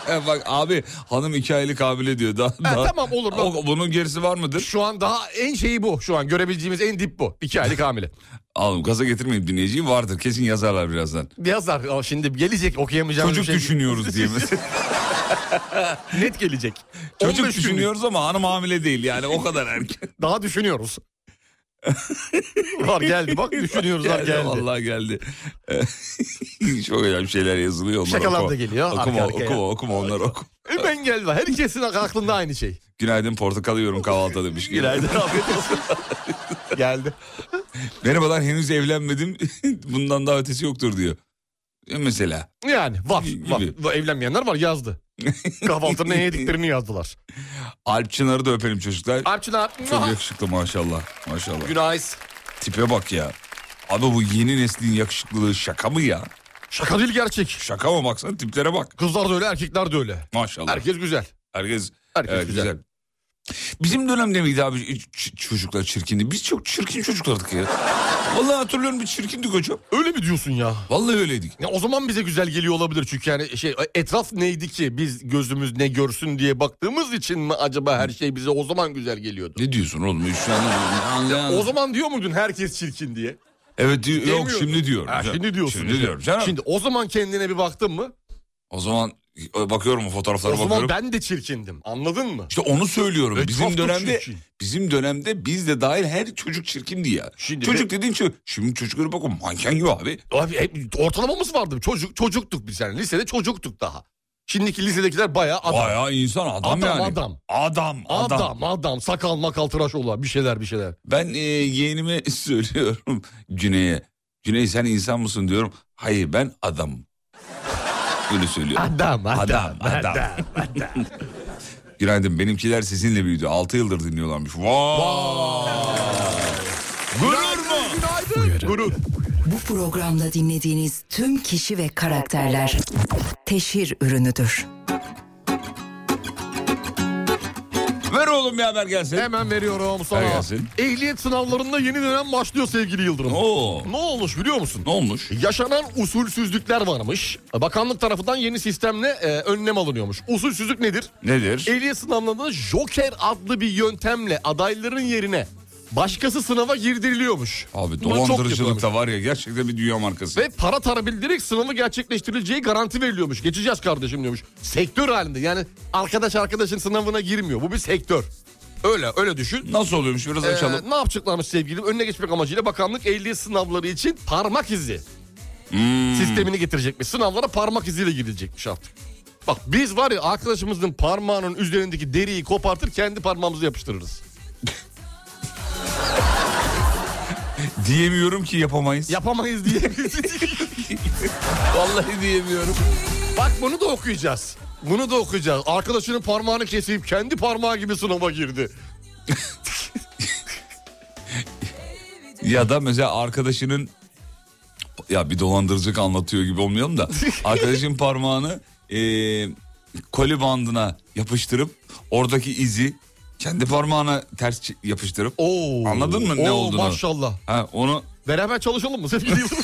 Speaker 3: E, Bak abi hanım iki aylık hamile diyor. Daha,
Speaker 4: Ha,
Speaker 3: daha-
Speaker 4: E, tamam olur.
Speaker 3: O- bunun gerisi var mıdır?
Speaker 4: Şu an daha en şeyi bu. Şu an görebileceğimiz en dip bu. İki aylık hamile.
Speaker 3: Alım gaza getirmeyin dinleyiciyi vardır. Kesin yazarlar birazdan.
Speaker 4: Yazar "Aa, şimdi gelecek okuyamayacağım.
Speaker 3: Çocuk
Speaker 4: şey.
Speaker 3: düşünüyoruz diye. mesela.
Speaker 4: Net gelecek. 15
Speaker 3: Çocuk
Speaker 4: günlük.
Speaker 3: düşünüyoruz ama hanım hamile değil yani o kadar erken.
Speaker 4: Daha düşünüyoruz. var geldi bak düşünüyoruz var geldi.
Speaker 3: Vallahi geldi. Çok önemli şeyler yazılıyor. Onları
Speaker 4: Şakalar
Speaker 3: okuma.
Speaker 4: da geliyor.
Speaker 3: Okuma
Speaker 4: Arka arkaya.
Speaker 3: okuma okuma onları okuma.
Speaker 4: E, Ben gel var. Herkesin aklında aynı şey.
Speaker 3: Günaydın portakal yiyorum kahvaltıda demiş.
Speaker 4: Günaydın afiyet olsun. geldi.
Speaker 3: Merhabalar henüz evlenmedim. Bundan daha ötesi yoktur diyor. E Mesela.
Speaker 4: Yani var,
Speaker 3: Gibi.
Speaker 4: var. Var, Evlenmeyenler var yazdı. Kahvaltı ne yediklerini yazdılar.
Speaker 3: Alp Çınar'ı da öpelim çocuklar.
Speaker 4: Alpçınar.
Speaker 3: Çok yakışıklı maşallah. Maşallah.
Speaker 4: Günaydın.
Speaker 3: Tipe bak ya. Abi bu yeni neslin yakışıklılığı şaka mı ya?
Speaker 4: Şaka değil gerçek.
Speaker 3: Şaka mı baksana tiplere bak.
Speaker 4: Kızlar da öyle erkekler de öyle.
Speaker 3: Maşallah. Herkes
Speaker 4: Herkes güzel.
Speaker 3: herkes,
Speaker 4: Herkes
Speaker 3: e, güzel.
Speaker 4: güzel.
Speaker 3: Bizim dönemde miydi abi ç- çocuklar çirkindi? Biz çok çirkin çocuklardık ya. Vallahi hatırlıyorum biz çirkindik hocam.
Speaker 4: Öyle mi diyorsun ya?
Speaker 3: Vallahi öyleydik.
Speaker 4: Ya o zaman bize güzel geliyor olabilir çünkü yani şey etraf neydi ki biz gözümüz ne görsün diye baktığımız için mi acaba her şey bize o zaman güzel geliyordu?
Speaker 3: Ne diyorsun oğlum? Şu an-
Speaker 4: O zaman diyor muydun herkes çirkin diye?
Speaker 3: Evet diyor, yok
Speaker 4: Demiyordun.
Speaker 3: şimdi diyorum.
Speaker 4: Ha, şimdi diyorsun.
Speaker 3: Şimdi diyorum canım.
Speaker 4: Şimdi o zaman kendine bir baktın mı?
Speaker 3: O zaman e, bakıyorum o fotoğraflara
Speaker 4: o zaman
Speaker 3: bakıyorum.
Speaker 4: ben de çirkindim. Anladın mı?
Speaker 3: İşte onu söylüyorum.
Speaker 4: Etraf
Speaker 3: bizim
Speaker 4: da
Speaker 3: dönemde
Speaker 4: çirkin.
Speaker 3: bizim dönemde biz de dahil her çocuk çirkindi ya.
Speaker 4: Şimdi
Speaker 3: çocuk dediğin şey şimdi çocuklara bakın manken gibi abi.
Speaker 4: Abi hep ortalamamız vardı. Çocuk çocuktuk biz yani. Lisede çocuktuk daha. Şimdiki lisedekiler bayağı adam.
Speaker 3: Bayağı insan adam,
Speaker 4: Adam,
Speaker 3: yani.
Speaker 4: adam.
Speaker 3: Adam adam.
Speaker 4: adam, adam, Sakal makal tıraş olan bir şeyler bir şeyler.
Speaker 3: Ben e, yeğenime söylüyorum Güney'e. Güney sen insan mısın diyorum. Hayır ben adamım. Öyle söylüyorum.
Speaker 4: Adam, adam,
Speaker 3: adam. Günaydın benimkiler sizinle büyüdü. 6 yıldır dinliyorlarmış. Vay. Gurur mu?
Speaker 4: Gurur.
Speaker 1: Bu programda dinlediğiniz tüm kişi ve karakterler teşhir ürünüdür.
Speaker 3: Ver oğlum bir haber gelsin.
Speaker 4: Hemen veriyorum sana.
Speaker 3: Ver gelsin.
Speaker 4: Ehliyet sınavlarında yeni dönem başlıyor sevgili Yıldırım.
Speaker 3: Oo.
Speaker 4: Ne olmuş biliyor musun?
Speaker 3: Ne olmuş?
Speaker 4: Yaşanan usulsüzlükler varmış. Bakanlık tarafından yeni sistemle e, önlem alınıyormuş. Usulsüzlük nedir?
Speaker 3: Nedir?
Speaker 4: Ehliyet sınavlarında Joker adlı bir yöntemle adayların yerine başkası sınava girdiriliyormuş.
Speaker 3: Abi
Speaker 4: Bunu çok
Speaker 3: dolandırıcılık
Speaker 4: yapıyormuş.
Speaker 3: da var ya gerçekten bir dünya markası.
Speaker 4: Ve para tarabildirerek sınavı gerçekleştirileceği garanti veriliyormuş. Geçeceğiz kardeşim diyormuş. Sektör halinde yani arkadaş arkadaşın sınavına girmiyor. Bu bir sektör. Öyle öyle düşün.
Speaker 3: Nasıl oluyormuş biraz açalım.
Speaker 4: Ee, ne yapacaklarmış sevgilim? Önüne geçmek amacıyla bakanlık ehliyet sınavları için parmak izi
Speaker 3: Hmm.
Speaker 4: sistemini getirecekmiş. Sınavlara parmak iziyle girilecekmiş artık. Bak biz var ya arkadaşımızın parmağının üzerindeki deriyi kopartır kendi parmağımızı yapıştırırız.
Speaker 3: Diyemiyorum ki yapamayız.
Speaker 4: Yapamayız diye.
Speaker 3: Vallahi diyemiyorum.
Speaker 4: Bak bunu da okuyacağız. Bunu da okuyacağız. Arkadaşının parmağını kesip kendi parmağı gibi sınava girdi.
Speaker 3: Ya da mesela arkadaşının ya bir dolandırıcılık anlatıyor gibi olmayalım da arkadaşın parmağını e, koli bandına yapıştırıp oradaki izi kendi parmağına ters çi- yapıştırıp
Speaker 4: Oo.
Speaker 3: Anladın mı ne
Speaker 4: Oo,
Speaker 3: olduğunu?
Speaker 4: Maşallah.
Speaker 3: ha, onu
Speaker 4: Beraber çalışalım mı sevgili Yıldırım?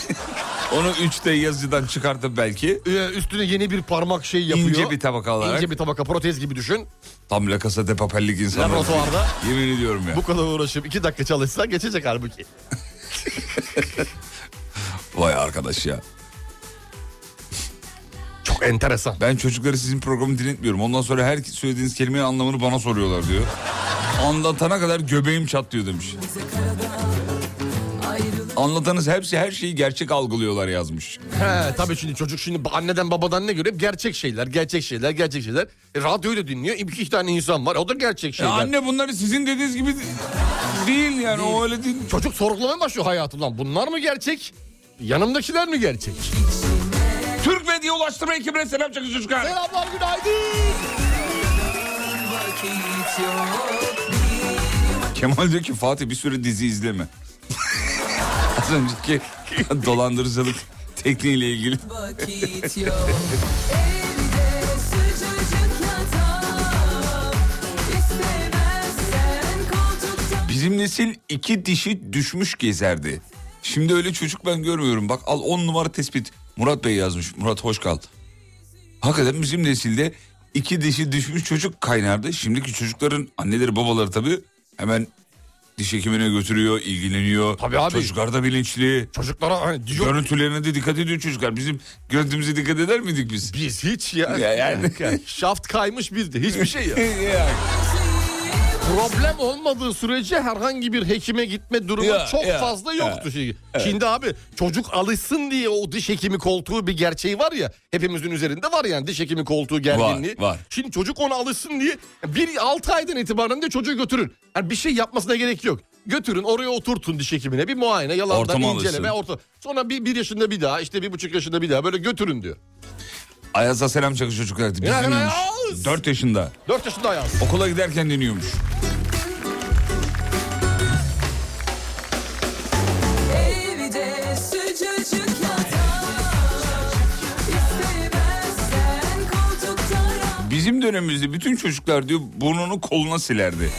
Speaker 3: onu 3D yazıcıdan çıkartıp belki
Speaker 4: Ee, Üstüne yeni bir parmak şey yapıyor.
Speaker 3: ince bir tabak alarak
Speaker 4: İnce bir tabaka protez gibi düşün.
Speaker 3: tam La Casa de Papel'lik insanlar.
Speaker 4: Laboratuvarda
Speaker 3: Yemin ediyorum ya.
Speaker 4: bu kadar uğraşıp iki dakika çalışsa geçecek halbuki.
Speaker 3: Vay arkadaş ya.
Speaker 4: Çok enteresan.
Speaker 3: Ben çocukları sizin programı dinletmiyorum. Ondan sonra her söylediğiniz kelimenin anlamını bana soruyorlar diyor. Anlatana kadar göbeğim çatlıyor demiş. Anlatanız hepsi her şeyi gerçek algılıyorlar yazmış.
Speaker 4: He tabii şimdi çocuk şimdi anneden babadan ne görüyor? Gerçek şeyler, gerçek şeyler, gerçek şeyler. E, radyoyu da dinliyor. İki tane insan var. O da gerçek
Speaker 3: Ya
Speaker 4: şeyler.
Speaker 3: anne bunları sizin dediğiniz gibi değil yani o öyle değil.
Speaker 4: Çocuk sorgulamaya başlıyor hayatı lan. Bunlar mı gerçek? Yanımdakiler mi gerçek?
Speaker 3: Türk Medya Ulaştırma ekibine selam çakın çocuklar.
Speaker 4: Selamlar günaydın.
Speaker 3: Kemal diyor ki Fatih bir süre dizi izleme. Az önceki dolandırıcılık tekniğiyle ilgili. Bizim nesil iki dişi düşmüş gezerdi. Şimdi öyle çocuk ben görmüyorum. Bak al 10 numara tespit. Murat Bey yazmış. Murat Hoşkal. Hakikaten bizim nesilde iki dişi düşmüş çocuk kaynardı. Şimdiki çocukların anneleri babaları tabii hemen diş hekimine götürüyor, ilgileniyor.
Speaker 4: Tabii abi.
Speaker 3: Çocuklar da bilinçli.
Speaker 4: Çocuklara hani diyor
Speaker 3: Görüntülerine de dikkat ediyor çocuklar. Bizim görüntümüze dikkat eder miydik biz?
Speaker 4: biz hiç ya.
Speaker 3: Ya yani.
Speaker 4: Şaft kaymış bizde hiçbir şey yok. Problem olmadığı sürece herhangi bir hekime gitme durumu
Speaker 3: Ya,
Speaker 4: çok
Speaker 3: ya,
Speaker 4: fazla
Speaker 3: ya.
Speaker 4: yoktu. Şimdi- Şimdi abi çocuk alışsın diye o diş hekimi koltuğu bir gerçeği var ya hepimizin üzerinde var yani diş hekimi koltuğu gerginliği.
Speaker 3: var.
Speaker 4: Şimdi çocuk ona alışsın diye bir 6 aydan itibaren de çocuğu götürün. Yani bir şey yapmasına gerek yok. Götürün oraya oturtun diş hekimine bir muayene yalandan
Speaker 3: Ortama
Speaker 4: inceleme orta. Sonra bir, bir yaşında bir daha işte bir buçuk yaşında bir daha böyle götürün diyor.
Speaker 3: Ayaz'a selam çakın çocuklar. Bizim
Speaker 4: Ya,
Speaker 3: dinliyormuş.
Speaker 4: Ayaz!
Speaker 3: 4 yaşında.
Speaker 4: 4 yaşında ayaz.
Speaker 3: Okula giderken dinliyormuş. Bizim dönemimizde bütün çocuklar diyor burnunu koluna silerdi.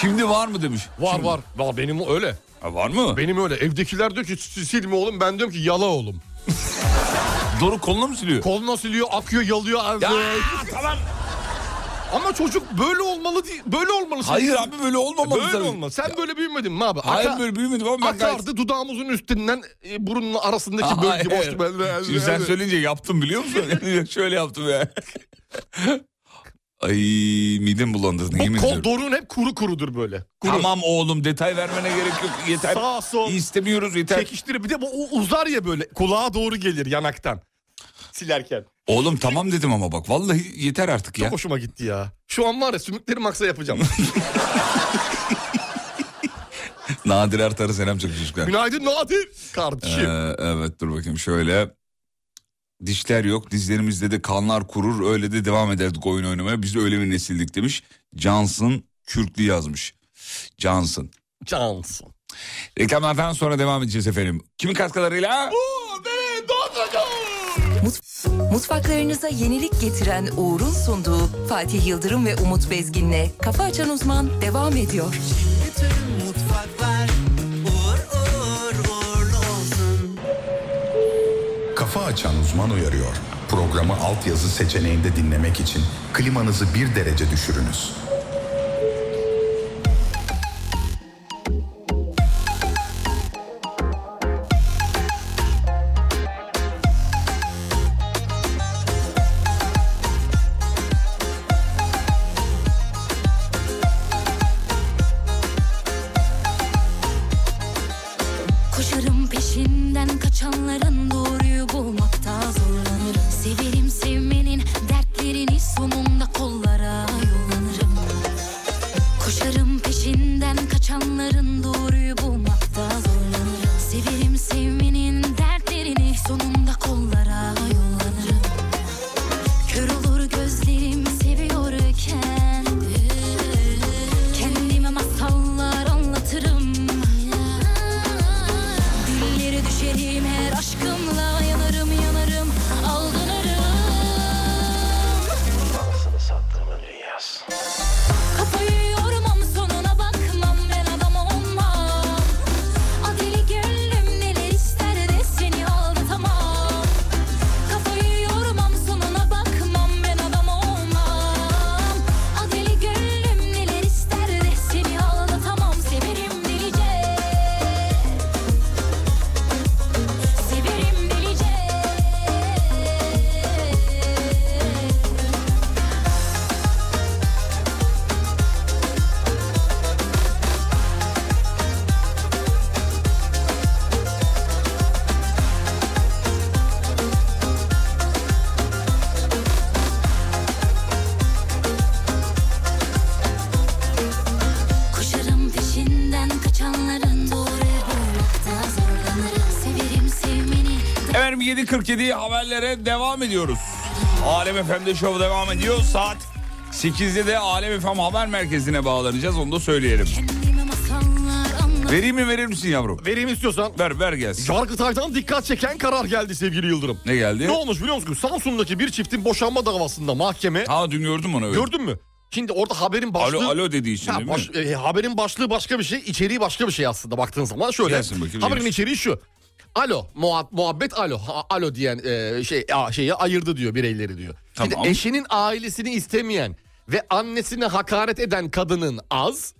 Speaker 3: Şimdi var mı demiş.
Speaker 4: Var
Speaker 3: Şimdi-
Speaker 4: var. Var benim o öyle.
Speaker 3: Ha, var mı?
Speaker 4: Benim öyle. Evdekiler diyor ki "Sil- silme oğlum. Ben diyorum ki yala oğlum.
Speaker 3: Doğru koluna mı siliyor?
Speaker 4: Koluna siliyor, akıyor, yalıyor. abi. Ama çocuk böyle olmalı değil. Böyle olmalı.
Speaker 3: Hayır abi böyle olmamalı.
Speaker 4: E, Böyle
Speaker 3: tabii.
Speaker 4: olmalı. Sen böyle büyümedin mi abi?
Speaker 3: Hayır
Speaker 4: Aka-
Speaker 3: böyle büyümedim ama ben gayet-
Speaker 4: Akardı dudağımızın üstünden e, burunun arasındaki
Speaker 3: Hayır.
Speaker 4: bölge boştu. Ben-
Speaker 3: Şimdi sen söyleyince yaptım biliyor musun? Şöyle yaptım ya. Ay midem bulandırdın
Speaker 4: Bu
Speaker 3: yemin
Speaker 4: kol
Speaker 3: ediyorum.
Speaker 4: doruğun hep kuru kurudur böyle. Kuru.
Speaker 3: Tamam oğlum detay vermene gerek yok. Yeter.
Speaker 4: Sağ sol
Speaker 3: İstemiyoruz yeter.
Speaker 4: çekiştirir. Bir de bu u- uzar ya böyle. Kulağa doğru gelir yanaktan. Silerken.
Speaker 3: Oğlum tamam dedim ama bak vallahi yeter artık ya.
Speaker 4: Çok hoşuma gitti ya. Şu an var ya sümükleri maksa yapacağım.
Speaker 3: Nadir Ertar'a selam çakın çocuklar.
Speaker 4: Günaydın Nadir kardeşim.
Speaker 3: Ee, evet dur bakayım şöyle. Dişler yok dizlerimizde de kanlar kurur öyle de devam ederdik oyun oynamaya. Biz de öyle bir nesildik demiş. Johnson Kürklü yazmış. Johnson.
Speaker 4: Cansın.
Speaker 3: Reklamlardan sonra devam edeceğiz efendim. Kimin katkılarıyla?
Speaker 1: Mutfaklarınıza yenilik getiren Uğur'un sunduğu Fatih Yıldırım ve Umut Bezgin'le Kafa Açan Uzman devam ediyor.
Speaker 6: Bütün mutfaklar uğur uğur uğurlu olsun
Speaker 7: Kafa Açan Uzman uyarıyor. Programı altyazı seçeneğinde dinlemek için klimanızı bir derece düşürünüz.
Speaker 5: Koşarım peşinden kaçanların doğruyu bulmakta zorlanırım Severim sevmenin dertlerini sonunda kollara yollanırım Koşarım peşinden kaçanların doğruyu bulmakta zorlanırım Severim sevmenin dertlerini sonunda kollara yollanırım Kör olur gözlerim seviyorken Kendime masallar anlatırım Ah,
Speaker 3: 17.47 haberlere devam ediyoruz. Alem FM'de şov devam ediyor. Saat 8'de de Alem FM Haber Merkezi'ne bağlanacağız. Onu da söyleyelim.
Speaker 5: Kendime masallar anlat.
Speaker 3: Vereyim mi verir misin yavrum?
Speaker 4: Vereyim istiyorsan.
Speaker 3: Ver ver gelsin.
Speaker 4: Yargıtay'dan dikkat çeken karar geldi sevgili Yıldırım.
Speaker 3: Ne geldi?
Speaker 4: Ne olmuş biliyor musun? Samsun'daki bir çiftin boşanma davasında mahkeme
Speaker 3: Ha dün gördüm onu. evet.
Speaker 4: gördün mü? Şimdi orada haberin başlığı
Speaker 3: Alo alo dediği için
Speaker 4: Ya
Speaker 3: değil
Speaker 4: baş-
Speaker 3: mi?
Speaker 4: e, haberin başlığı başka bir şey, içeriği başka bir şey aslında baktığın zaman şöyle.
Speaker 3: Gelsin bakayım,
Speaker 4: haberin
Speaker 3: neymiş?
Speaker 4: içeriği şu. Alo, muha- muhabbet alo, ha- alo diyen e, şey a, şeyi ayırdı diyor bireyleri diyor.
Speaker 3: Tamam.
Speaker 4: Şimdi eşinin ailesini istemeyen ve annesine hakaret eden kadının az,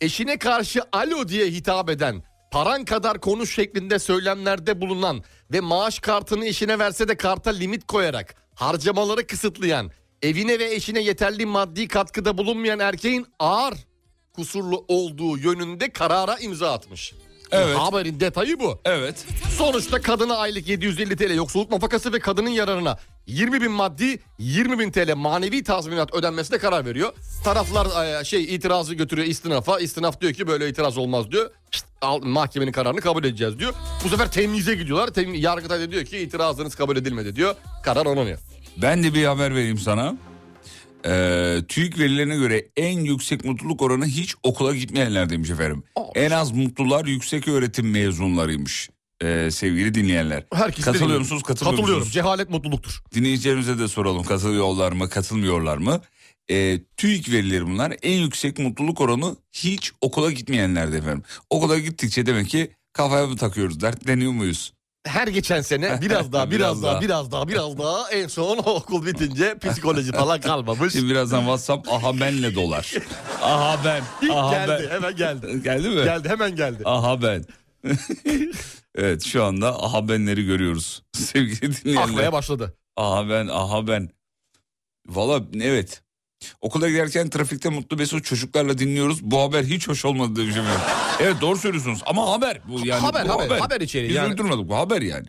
Speaker 4: eşine karşı alo diye hitap eden, paran kadar konuş şeklinde söylemlerde bulunan ve maaş kartını eşine verse de karta limit koyarak harcamaları kısıtlayan, evine ve eşine yeterli maddi katkıda bulunmayan erkeğin ağır kusurlu olduğu yönünde karara imza atmış.
Speaker 3: Evet.
Speaker 4: Haberin detayı bu.
Speaker 3: Evet.
Speaker 4: Sonuçta kadına aylık 750 TL yoksulluk nafakası ve kadının yararına 20 bin maddi 20 bin TL manevi tazminat ödenmesine karar veriyor. Taraflar e, şey itirazı götürüyor istinafa. İstinaf diyor ki böyle itiraz olmaz diyor. Şşt, al, mahkemenin kararını kabul edeceğiz diyor. Bu sefer temyize gidiyorlar. Tem, Yargıtay da diyor ki itirazınız kabul edilmedi diyor. Karar onanıyor.
Speaker 3: Ben de bir haber vereyim sana. Ee, TÜİK verilerine göre en yüksek mutluluk oranı hiç okula gitmeyenler demiş efendim.
Speaker 4: Olmuş.
Speaker 3: En az mutlular yüksek öğretim mezunlarıymış. Ee, sevgili dinleyenler.
Speaker 4: Herkes
Speaker 3: Katılıyor
Speaker 4: dediğim-
Speaker 3: musunuz? Katılmıyor
Speaker 4: Katılıyorum.
Speaker 3: musunuz?
Speaker 4: Cehalet mutluluktur.
Speaker 3: Dinleyicilerimize de soralım katılıyorlar mı katılmıyorlar mı? Ee, TÜİK verileri bunlar. En yüksek mutluluk oranı hiç okula gitmeyenlerde efendim. Okula gittikçe demek ki kafaya mı takıyoruz dertleniyor muyuz?
Speaker 4: her geçen sene biraz daha biraz,
Speaker 3: Biraz
Speaker 4: daha,
Speaker 3: daha.
Speaker 4: biraz daha biraz daha en son okul bitince psikoloji falan kalmamış.
Speaker 3: Şimdi birazdan WhatsApp aha benle dolar. Aha ben.
Speaker 4: İlk
Speaker 3: aha
Speaker 4: geldi hemen geldi.
Speaker 3: ben. Geldi mi?
Speaker 4: Geldi hemen geldi.
Speaker 3: Aha ben. evet şu anda aha benleri görüyoruz. Sevgili dinleyenler.
Speaker 4: Akmaya başladı.
Speaker 3: Aha ben aha ben. Valla evet. Okula giderken trafikte Mutlu Mesut çocuklarla dinliyoruz. Bu haber hiç hoş olmadı demişim. evet doğru söylüyorsunuz ama haber. Bu yani
Speaker 4: haber,
Speaker 3: bu
Speaker 4: haber, haber içeriği
Speaker 3: Biz
Speaker 4: yani.
Speaker 3: uydurmadık bu haber yani.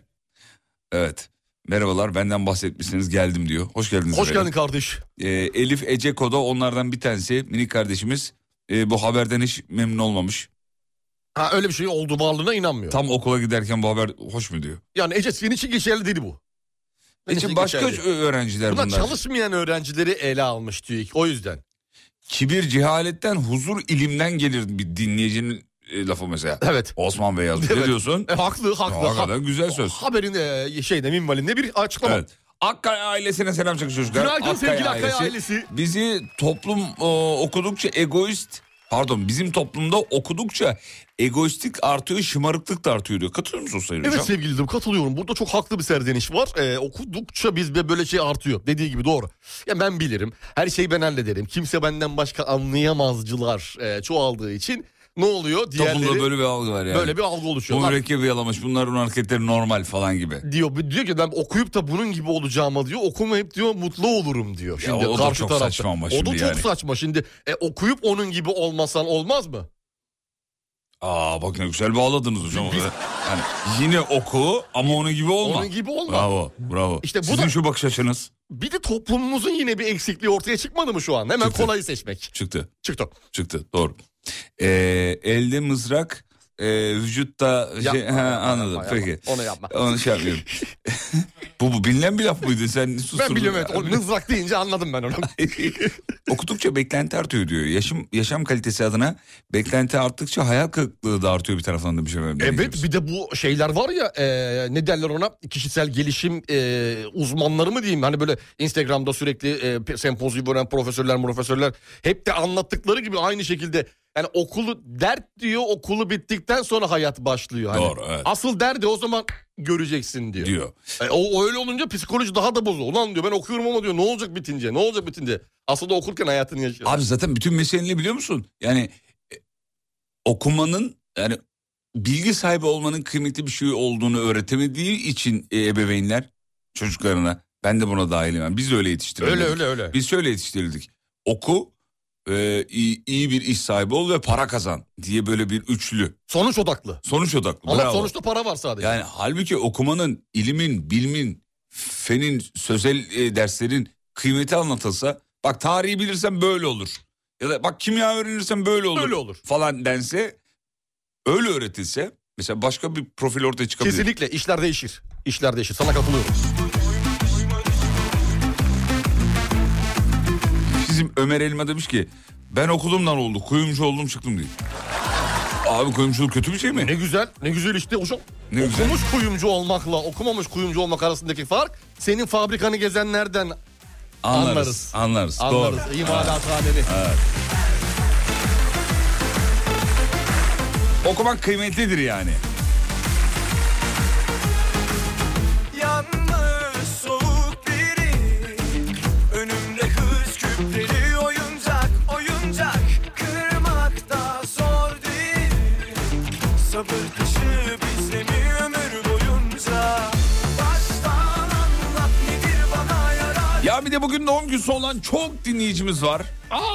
Speaker 3: Evet. Merhabalar benden bahsetmişsiniz geldim diyor. Hoş geldiniz.
Speaker 4: Hoş
Speaker 3: efendim.
Speaker 4: geldin kardeş.
Speaker 3: Ee, Elif Eceko da onlardan bir tanesi. Minik kardeşimiz e, bu haberden hiç memnun olmamış.
Speaker 4: Ha öyle bir şey oldu varlığına inanmıyor.
Speaker 3: Tam okula giderken bu haber hoş mu diyor.
Speaker 4: Yani Ece senin için geçerli değil bu. Senin
Speaker 3: İçin
Speaker 4: için
Speaker 3: başka
Speaker 4: geçerli.
Speaker 3: ö- öğrenciler bunlar.
Speaker 4: Bunlar çalışmayan öğrencileri ele almış TÜİK o yüzden.
Speaker 3: Kibir cehaletten huzur ilimden gelir bir dinleyicinin e, lafı mesela.
Speaker 4: Evet.
Speaker 3: Osman Bey yazmış. Ne
Speaker 4: Evet.
Speaker 3: diyorsun?
Speaker 4: E, haklı haklı.
Speaker 3: Hakikaten güzel söz.
Speaker 4: Haberin e, şeyde minvalinde bir açıklama.
Speaker 3: Evet. Akkaya ailesine selam çakın çocuklar.
Speaker 4: Günaydın sevgili Akkaya ailesi.
Speaker 3: Bizi toplum e, okudukça egoist pardon bizim toplumda okudukça egoistlik artıyor şımarıklık da artıyor diyor. Katılıyor musun Sayın
Speaker 4: Evet
Speaker 3: Hocam?
Speaker 4: sevgili Dım, katılıyorum. Burada çok haklı bir serdeniş var. Ee, okudukça bizde böyle şey artıyor. Dediği gibi doğru. Ya ben bilirim. Her şeyi ben hallederim. Kimse benden başka anlayamazcılar e, çoğaldığı için ne oluyor? Diğerleri
Speaker 3: Toplumda
Speaker 4: böyle,
Speaker 3: böyle bir algı var yani.
Speaker 4: bir algı
Speaker 3: Bu
Speaker 4: oluşuyor. Lan
Speaker 3: mürekkebi yalamış bunların hareketleri normal falan gibi.
Speaker 4: diyor diyor ki ben okuyup da bunun gibi olacağıma diyor. Okumayıp diyor mutlu olurum diyor.
Speaker 3: Ya
Speaker 4: Şimdi
Speaker 3: o da
Speaker 4: karşı
Speaker 3: çok
Speaker 4: tarafta.
Speaker 3: saçma ama
Speaker 4: O
Speaker 3: şimdi
Speaker 4: da çok
Speaker 3: yani.
Speaker 4: saçma. Şimdi e, okuyup onun gibi olmasan olmaz mı?
Speaker 3: Aa bak ne güzel bağladınız hocam. Yani yine oku ama onun gibi olma.
Speaker 4: Onun gibi olma.
Speaker 3: Bravo, bravo.
Speaker 4: İşte bu
Speaker 3: Sizin
Speaker 4: da-
Speaker 3: şu bakış açınız
Speaker 4: Bir de toplumumuzun yine bir eksikliği ortaya çıkmadı mı şu an? Hemen
Speaker 3: Çıktı.
Speaker 4: kolayı seçmek.
Speaker 3: çıktı,
Speaker 4: Çıktı.
Speaker 3: çıktı. Doğru. Ee, elde mızrak, e, vücutta... şey,
Speaker 4: Yapma,
Speaker 3: he,
Speaker 4: yapma,
Speaker 3: anladım,
Speaker 4: yapma,
Speaker 3: peki.
Speaker 4: yapma. Onu yapma.
Speaker 3: Onu şey yapmıyorum. bu, bu bilinen bir laf mıydı? Sen susturdun.
Speaker 4: Ben biliyorum evet. O mızrak deyince anladım ben onu.
Speaker 3: Okudukça beklenti artıyor diyor. Yaşam, yaşam kalitesi adına beklenti arttıkça hayal kırıklığı da artıyor bir taraftan da bir şey.
Speaker 4: evet bir de bu şeyler var ya e, ne derler ona kişisel gelişim e, uzmanları mı diyeyim? Hani böyle Instagram'da sürekli e, pe- sempozyum veren profesörler profesörler hep de anlattıkları gibi aynı şekilde yani okulu dert diyor okulu bittikten sonra hayat başlıyor. Hani
Speaker 3: Doğru, evet.
Speaker 4: Asıl derdi o zaman göreceksin diyor.
Speaker 3: diyor.
Speaker 4: E, o o öyle olunca psikoloji daha da bozuyor. Ulan diyor ben okuyorum ama diyor ne olacak bitince ne olacak bitince. Aslında okurken hayatını yaşıyor.
Speaker 3: Abi zaten bütün mesele ne biliyor musun? Yani e, okumanın yani bilgi sahibi olmanın kıymetli bir şey olduğunu öğretemediği için e, ebeveynler çocuklarına ben de buna dahilim. Yani biz de öyle yetiştirildik.
Speaker 4: öyle öyle öyle.
Speaker 3: Biz şöyle yetiştirildik. Oku e, iyi, iyi bir iş sahibi ol ve para kazan diye böyle bir üçlü.
Speaker 4: Sonuç odaklı.
Speaker 3: Sonuç odaklı.
Speaker 4: Ama
Speaker 3: bravo.
Speaker 4: sonuçta para var sadece.
Speaker 3: Yani halbuki okumanın, ilimin, bilmin, fenin, sözel e, derslerin kıymeti anlatılsa bak tarihi bilirsen böyle olur. Ya da bak kimya öğrenirsen böyle olur.
Speaker 4: Öyle olur.
Speaker 3: Falan dense öyle öğretilse Mesela başka bir profil ortaya çıkabilir.
Speaker 4: Kesinlikle işler değişir. İşler değişir. Sana katılıyorum.
Speaker 3: Bizim Ömer Elma demiş ki ben okulumdan oldu kuyumcu oldum çıktım diye. Abi kuyumculuk kötü bir şey mi?
Speaker 4: Ne güzel, ne güzel işte hocam.
Speaker 3: Ne
Speaker 4: Okumuş
Speaker 3: güzel.
Speaker 4: kuyumcu olmakla okumamış kuyumcu olmak arasındaki fark senin fabrikanı gezenlerden
Speaker 3: Anlarız.
Speaker 4: anlarız.
Speaker 3: Anlarız. Doğru.
Speaker 4: İmalathaneni.
Speaker 3: Okumak kıymetlidir yani.
Speaker 6: Yanmış soğuk biri Önümde kız küpleri oyuncak oyuncak Kırmak da zor değil Sabır taşı bizde mi ömür boyunca Baştan anlat nedir bana yarar
Speaker 3: Ya bir de bugün doğum günü olan çok dinleyicimiz var.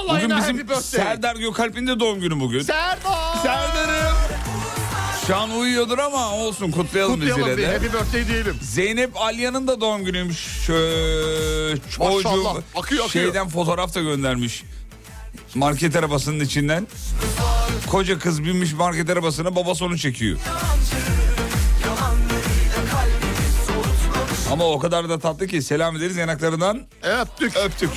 Speaker 3: bugün bizim Serdar Gökalp'in de doğum günü bugün.
Speaker 4: Serdar.
Speaker 3: Serdar'ım. Şu an uyuyordur ama olsun kutlayalım,
Speaker 4: Kutlayalım bir
Speaker 3: biz yine de.
Speaker 4: happy birthday diyelim.
Speaker 3: Zeynep Alya'nın da doğum günüymüş. Şö-
Speaker 4: Maşallah,
Speaker 3: çocuğu
Speaker 4: akıyor, akıyor.
Speaker 3: şeyden fotoğraf da göndermiş. Market arabasının içinden. Koca kız binmiş market arabasına babası onu çekiyor. Ama o kadar da tatlı ki selam ederiz yanaklarından
Speaker 4: Öptük.
Speaker 3: öptük.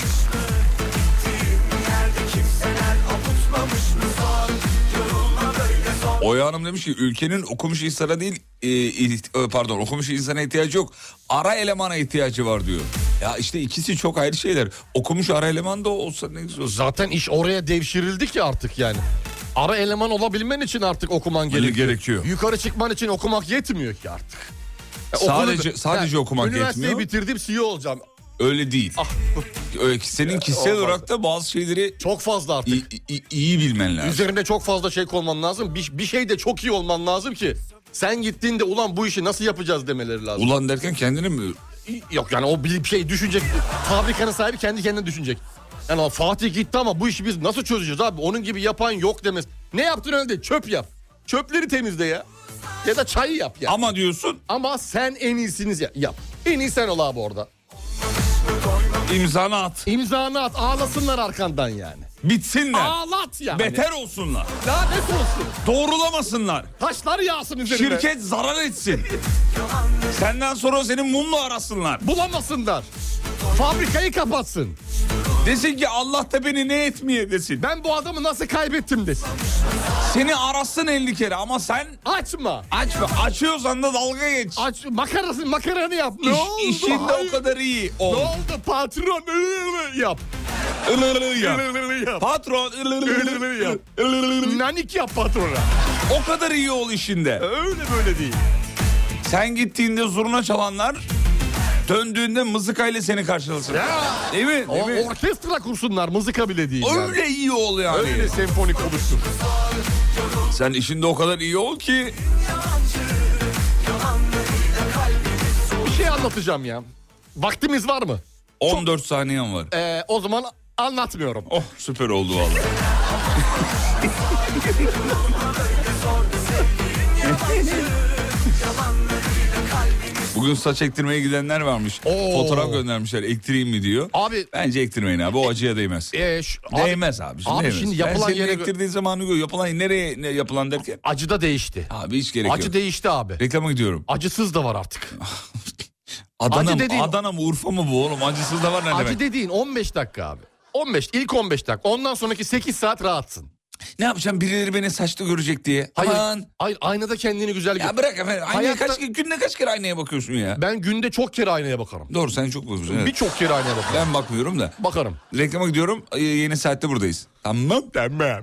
Speaker 3: Oya Hanım demiş ki ülkenin okumuş insana değil e, iht- e, pardon okumuş insana ihtiyacı yok ara elemana ihtiyacı var diyor. Ya işte ikisi çok ayrı şeyler. Okumuş ara eleman da olsa ne güzel olsa.
Speaker 4: Zaten iş oraya devşirildi ki artık yani. Ara eleman olabilmen için artık okuman gerekiyor.
Speaker 3: Hani gerekiyor.
Speaker 4: Yukarı çıkman için okumak yetmiyor ki artık. Ya okulu-
Speaker 3: Sadece- sadece okumak
Speaker 4: Üniversiteyi
Speaker 3: yetmiyor.
Speaker 4: bitirdim CEO olacağım.
Speaker 3: Öyle değil.
Speaker 4: Ah,
Speaker 3: Öyle ki senin kişisel
Speaker 4: olmaz.
Speaker 3: olarak da bazı şeyleri
Speaker 4: çok fazla artık.
Speaker 3: i- i- iyi bilmen lazım.
Speaker 4: Üzerinde çok fazla şey olman lazım. Bir, bir şeyde çok iyi olman lazım ki sen gittiğinde ulan bu işi nasıl yapacağız demeleri lazım.
Speaker 3: Ulan derken kendini mi
Speaker 4: Yok yani o bir şey düşünecek. Fabrikanın sahibi kendi kendine düşünecek. Yani o Fatih gitti ama bu işi biz nasıl çözeceğiz abi? Onun gibi yapan yok demez. Ne yaptın öyle değil. Çöp yap. Çöpleri temizle ya. Ya da çay yap ya.
Speaker 3: ama diyorsun
Speaker 4: Ama sen en iyisiniz ya. Yap. En iyi sen ol abi orada.
Speaker 3: imzanı at.
Speaker 4: İmzanı at ağlasınlar arkandan yani.
Speaker 3: Bitsinler.
Speaker 4: Ağlat yani.
Speaker 3: Beter olsunlar.
Speaker 4: Lanet olsun.
Speaker 3: Doğrulamasınlar.
Speaker 4: Taşlar yağsın üzerine.
Speaker 3: Şirket zarar etsin. Senden sonra senin mumla arasınlar.
Speaker 4: Bulamasınlar. Fabrikayı kapatsın.
Speaker 3: Desin ki Allah da beni ne etmeye desin.
Speaker 4: Ben bu adamı nasıl kaybettim desin.
Speaker 3: Seni arasın 50 kere ama sen
Speaker 4: Açma.
Speaker 3: açma. Açıyorsan da dalga geç.
Speaker 4: Aç makarasını makaranı yap. Ne
Speaker 3: İş,
Speaker 4: oldu?
Speaker 3: işinde
Speaker 4: Hayır.
Speaker 3: o kadar iyi
Speaker 4: Ne
Speaker 3: ol.
Speaker 4: oldu patron? Ilırlı yap.
Speaker 3: Ilırlı yap.
Speaker 4: Ilırlı yap.
Speaker 3: Patron ılırlı
Speaker 4: Ilırlı yap.
Speaker 3: ılırlı.
Speaker 4: Nanik yap patrona.
Speaker 3: o kadar iyi ol işinde.
Speaker 4: Öyle böyle değil.
Speaker 3: Sen gittiğinde zurna çalanlar döndüğünde mızıkayla seni karşılasın.
Speaker 4: Ya.
Speaker 3: Değil mi?
Speaker 4: O,
Speaker 3: Değil mi?
Speaker 4: orkestra kursunlar mızıka bile değil. yani.
Speaker 3: Öyle iyi ol yani.
Speaker 4: Öyle senfonik oluştur.
Speaker 3: Sen işinde o kadar iyi ol ki
Speaker 4: Bir şey anlatacağım ya. Vaktimiz var mı?
Speaker 3: 14 saniyen var.
Speaker 4: Ee, o zaman anlatmıyorum.
Speaker 3: Oh süper oldu vallahi. Bugün saç ektirmeye gidenler varmış.
Speaker 4: Oo.
Speaker 3: Fotoğraf göndermişler ektireyim mi diyor.
Speaker 4: Abi
Speaker 3: Bence ektirmeyin abi o acıya değmez.
Speaker 4: e, şu- abi,
Speaker 3: değmez abi.
Speaker 4: abi
Speaker 3: değmez.
Speaker 4: şimdi
Speaker 3: Ben
Speaker 4: yapılan
Speaker 3: senin
Speaker 4: yere-
Speaker 3: ektirdiğin zamanı gör. Yapılan nereye ne yapılan derken?
Speaker 4: acı da değişti.
Speaker 3: Abi hiç gerek
Speaker 4: Acı
Speaker 3: yok.
Speaker 4: değişti abi.
Speaker 3: Reklama gidiyorum.
Speaker 4: Acısız da var artık.
Speaker 3: Adana,
Speaker 4: Acı
Speaker 3: mı-
Speaker 4: dediğin-
Speaker 3: Adana mı Urfa mı bu oğlum? Acısız da var ne
Speaker 4: Acı
Speaker 3: demek?
Speaker 4: dediğin 15 dakika abi. 15 ilk 15 dakika. Ondan sonraki 8 saat rahatsın.
Speaker 3: Ne yapacağım birileri beni saçlı görecek diye.
Speaker 4: Hayır.
Speaker 3: Aman.
Speaker 4: Hayır aynada kendini güzel gör.
Speaker 3: Ya bırak efendim. Aynaya
Speaker 4: Hayatta-
Speaker 3: kaç, günde kaç kere aynaya bakıyorsun ya?
Speaker 4: Ben günde çok kere aynaya bakarım.
Speaker 3: Doğru sen çok bozuyorsun. evet.
Speaker 4: Birçok kere aynaya bakarım.
Speaker 3: Ben bakmıyorum da.
Speaker 4: Bakarım.
Speaker 3: Reklama gidiyorum. Ee, Yeni saatte buradayız. Tamam. Tamam.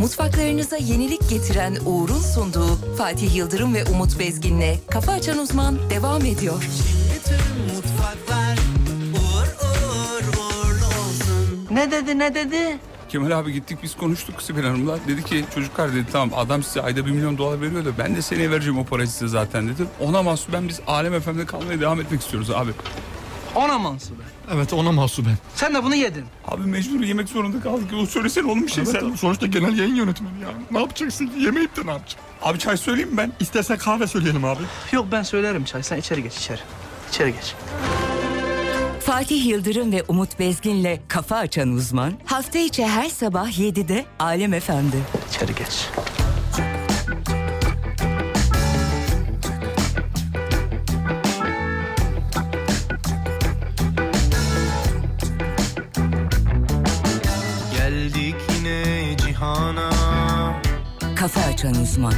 Speaker 1: Mutfaklarınıza yenilik getiren Uğur'un sunduğu Fatih Yıldırım ve Umut Bezgin'le Kafa Açan Uzman devam ediyor.
Speaker 6: Bütün mutfaklar uğur uğur uğurlu olsun
Speaker 8: Ne dedi ne dedi?
Speaker 9: Kemal abi gittik biz konuştuk Sibel Hanım'la. Dedi ki çocuklar dedi tamam adam size ayda 1 milyon dolar veriyor da ben de seneye vereceğim o parayı size zaten dedi. Ona mahsuben biz Alem FM'de kalmaya devam etmek istiyoruz abi.
Speaker 8: Ona mansuben.
Speaker 10: Evet ona mahsuben.
Speaker 8: Sen de bunu yedin.
Speaker 9: Abi mecbur yemek zorunda kaldık. O söylesene oğlum bir şey sen.
Speaker 10: sonuçta genel yayın yönetmeni ya. Ne yapacaksın ki? Yemeyip de ne yapacaksın?
Speaker 9: Abi çay söyleyeyim mi ben?
Speaker 10: İstersen kahve söyleyelim abi.
Speaker 8: Yok ben söylerim çay. Sen içeri geç içeri. İçeri geç.
Speaker 11: Fatih Yıldırım ve Umut Bezgin'le Kafa Açan Uzman hafta içi her sabah 7'de Alem Efendi.
Speaker 8: İçeri geç.
Speaker 11: Kafa Açan Uzman.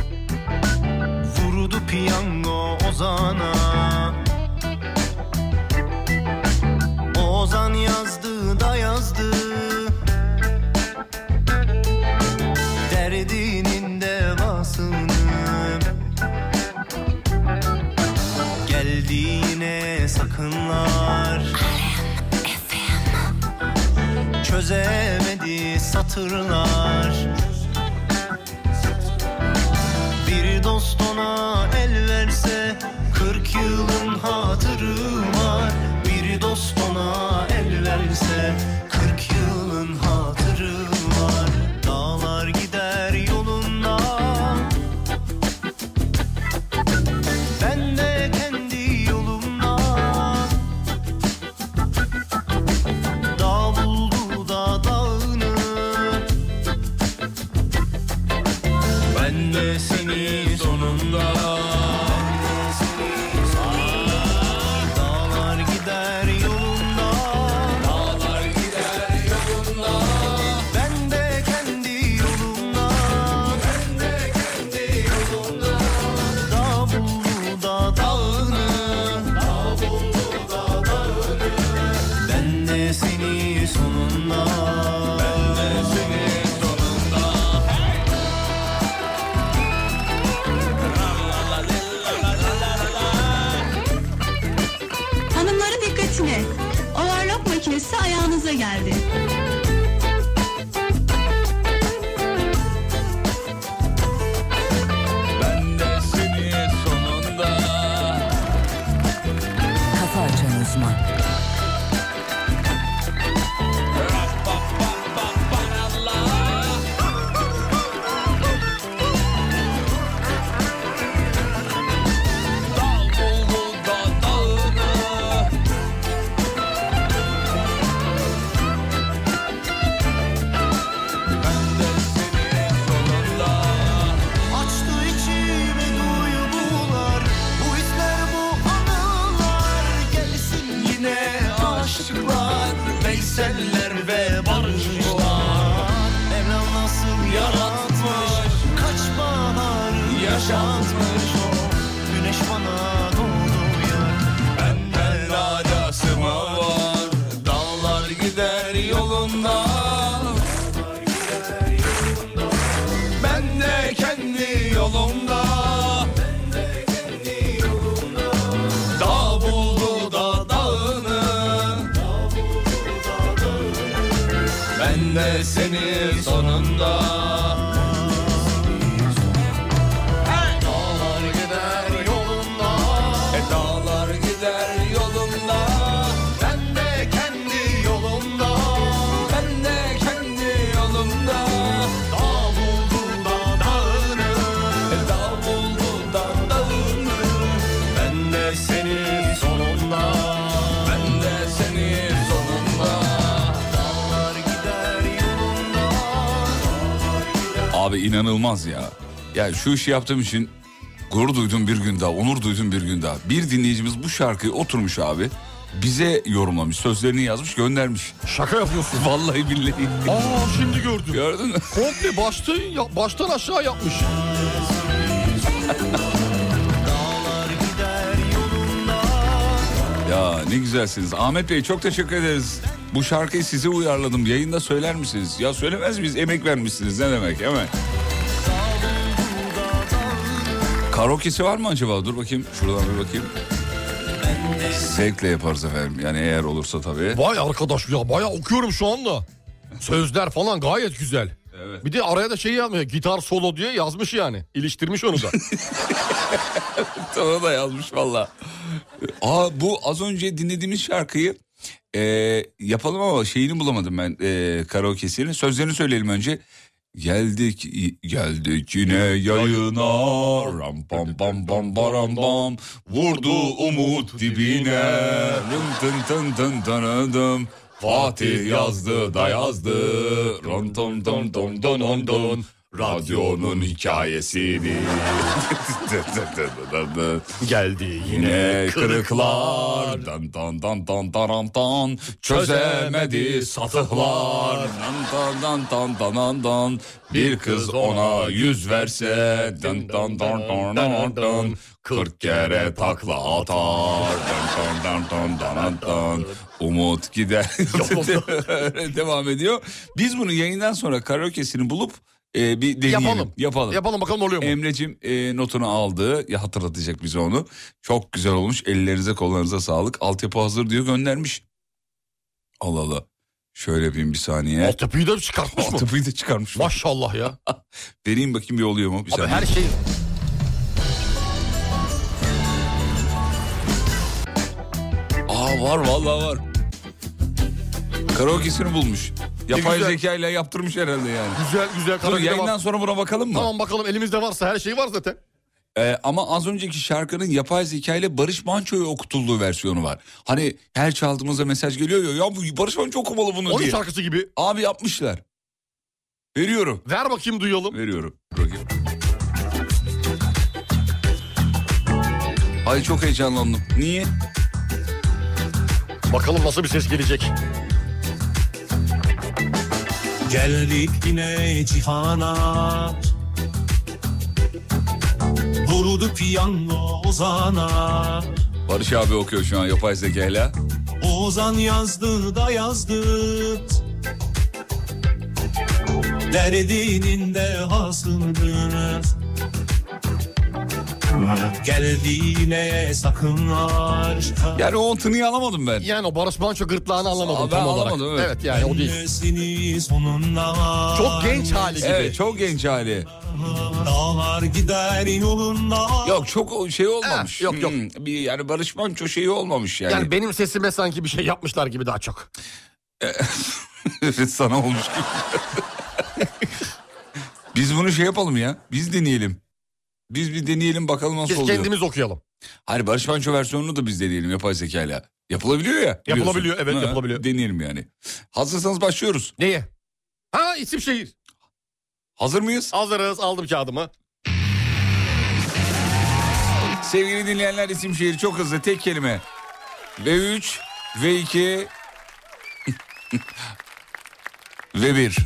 Speaker 12: Vurdu piyango Ozan'a Ozan yazdı da yazdı Derdinin devasını Geldi yine sakınlar Çözemedi satırlar bir dost ona el verse 40 yılın hatırı var Bir dost ona el verse 40 yılın hatırı var Dağlar gider yolunda Ben de kendi yolumda Dağ buldu da dağını ben de seni sonunda Dağlar gider yolunda Dağlar gider yolunda Ben de kendi yolumda Ben de kendi yolumda Dağ buldu da dağını Dağ buldu da dağını Ben de seni sonunda Ben de seni sonunda
Speaker 13: Hanımları dikkatine. Overlock makinesi ayağınıza geldi.
Speaker 6: Ben de seni sonunda
Speaker 11: Kafa Açan Uzman.
Speaker 6: Dal oldu da dağına
Speaker 12: Açtı içime duygular Bu hisler bu anılar Gelsin yine aşıklar Veyseller ve barışlar Evren nasıl yaratmış Kaç bahar yaşatmış o Güneş bana doğuyor Benden alası mı var Dağlar gider yolunda ben de kendi yolumda Dağ buldu da dağını Ben de seni sonunda Dağlar gider yolunda E dağlar gider yolunda Ben de kendi yolumda Ben de kendi yolumda Dağ buldu da dağını E dağ buldu da dağını Ben de senin sonunda Ben de senin sonunda Dağlar gider yolunda
Speaker 3: Abi inanılmaz ya. Ya şu işi yaptığım için gurur duydum bir gün daha, onur duydum bir gün daha. Bir dinleyicimiz bu şarkıyı oturmuş abi. Bize yorumlamış, sözlerini yazmış, göndermiş.
Speaker 4: Şaka yapıyorsun.
Speaker 3: Vallahi billahi.
Speaker 4: Aa şimdi gördüm.
Speaker 3: Gördün mü?
Speaker 4: Komple baştan, ya- baştan aşağı yapmış.
Speaker 3: Ya ne güzelsiniz. Ahmet Bey çok teşekkür ederiz. Bu şarkıyı size uyarladım. Yayında söyler misiniz? Ya söylemez miyiz? Emek vermişsiniz. Ne demek hemen. Karaoke'si var mı acaba? Dur bakayım. Şuradan bir bakayım. Zevkle yaparız efendim. Yani eğer olursa tabii.
Speaker 4: Vay arkadaş ya bayağı okuyorum şu anda. Sözler falan gayet güzel. Bir de araya da şey yazmıyor. Gitar solo diye yazmış yani. İliştirmiş onu da.
Speaker 3: Sana da yazmış valla. Aa bu az önce dinlediğimiz şarkıyı e, yapalım ama şeyini bulamadım ben e, karaoke'sini. Sözlerini söyleyelim önce. Geldik i- geldik yine yayına ram pam pam pam param pam vurdu umut dibine Rım tın tın tın tın tın. Fatih yazdı da yazdı ram tom tom tom don don don
Speaker 12: Radyonun hikayesini Geldi yine kırıklar Dan dan dan dan daram dan Çözemedi satıhlar Dan dan dan dan dan dan dan Bir kız ona yüz verse Dan dan dan dan dan dan Kırk kere takla atar Dan dan dan dan dan dan
Speaker 3: Umut gider. Devam ediyor. Biz bunu yayından sonra karaoke'sini bulup e, bir deneyelim.
Speaker 4: Yapalım.
Speaker 3: Yapalım.
Speaker 4: Yapalım bakalım oluyor mu?
Speaker 3: Emre'cim e, notunu aldı. Ya hatırlatacak bize onu. Çok güzel olmuş. Ellerinize kollarınıza sağlık. Altyapı hazır diyor göndermiş. Allah Allah. Şöyle yapayım bir saniye.
Speaker 4: Altyapıyı da çıkartmış
Speaker 3: mı? Altyapıyı da çıkarmış.
Speaker 4: Maşallah ya.
Speaker 3: Vereyim bakayım bir oluyor mu? Bir
Speaker 4: Abi
Speaker 3: saniye.
Speaker 4: her şey...
Speaker 3: Aa var vallahi var. Karaoke'sini bulmuş. Yapay
Speaker 4: güzel.
Speaker 3: zekayla yaptırmış herhalde yani.
Speaker 4: Güzel güzel.
Speaker 3: Dur
Speaker 4: karaoke
Speaker 3: yayından
Speaker 4: devam.
Speaker 3: sonra buna bakalım mı?
Speaker 4: Tamam bakalım elimizde varsa her şey var zaten.
Speaker 3: Ee, ama az önceki şarkının yapay zeka ile Barış Manço'ya okutulduğu versiyonu var. Hani her çaldığımızda mesaj geliyor ya, ya bu Barış Manço okumalı bunu
Speaker 4: Onun
Speaker 3: diye.
Speaker 4: şarkısı gibi.
Speaker 3: Abi yapmışlar. Veriyorum.
Speaker 4: Ver bakayım duyalım.
Speaker 3: Veriyorum. Bakayım. Ay çok heyecanlandım. Niye?
Speaker 4: Bakalım nasıl bir ses gelecek.
Speaker 14: Geldik yine cihana Vurdu piyango Ozan'a
Speaker 3: Barış abi okuyor şu an yapay zekayla.
Speaker 14: Ozan yazdı da yazdı Derdinin de hasıldır Geldi yine sakın aç
Speaker 3: Yani o tınıyı alamadım ben.
Speaker 4: Yani o Barış Manço gırtlağını alamadım
Speaker 14: Aa, ben
Speaker 4: tam olarak.
Speaker 14: alamadım,
Speaker 4: evet.
Speaker 14: evet.
Speaker 4: yani o değil.
Speaker 14: Dönmesini sonunda
Speaker 4: Çok genç hali gibi.
Speaker 3: Evet çok genç hali.
Speaker 14: Dağlar gider yolunda
Speaker 3: Yok çok o şey olmamış. yok yok. bir yani Barış Manço şeyi olmamış yani.
Speaker 4: Yani, benim sesime sanki bir şey yapmışlar gibi daha çok.
Speaker 3: Evet sana olmuş gibi. Biz bunu şey yapalım ya. Biz deneyelim. Biz bir deneyelim bakalım nasıl
Speaker 4: Biz
Speaker 3: oluyor.
Speaker 4: kendimiz okuyalım.
Speaker 3: Hayır Hani Barış Manço versiyonunu da biz deneyelim yapay zekayla. Yapılabiliyor ya.
Speaker 4: Yapılabiliyor, evet, yapılabiliyor.
Speaker 3: Deneyelim yani. Hazırsanız başlıyoruz.
Speaker 4: Neye? Ha isim şehir.
Speaker 3: Hazır mıyız?
Speaker 4: Hazırız aldım kağıdımı. Ah.
Speaker 3: Sevgili dinleyenler isim şehir çok hızlı tek kelime. Ve 3 ve 2 ve 1.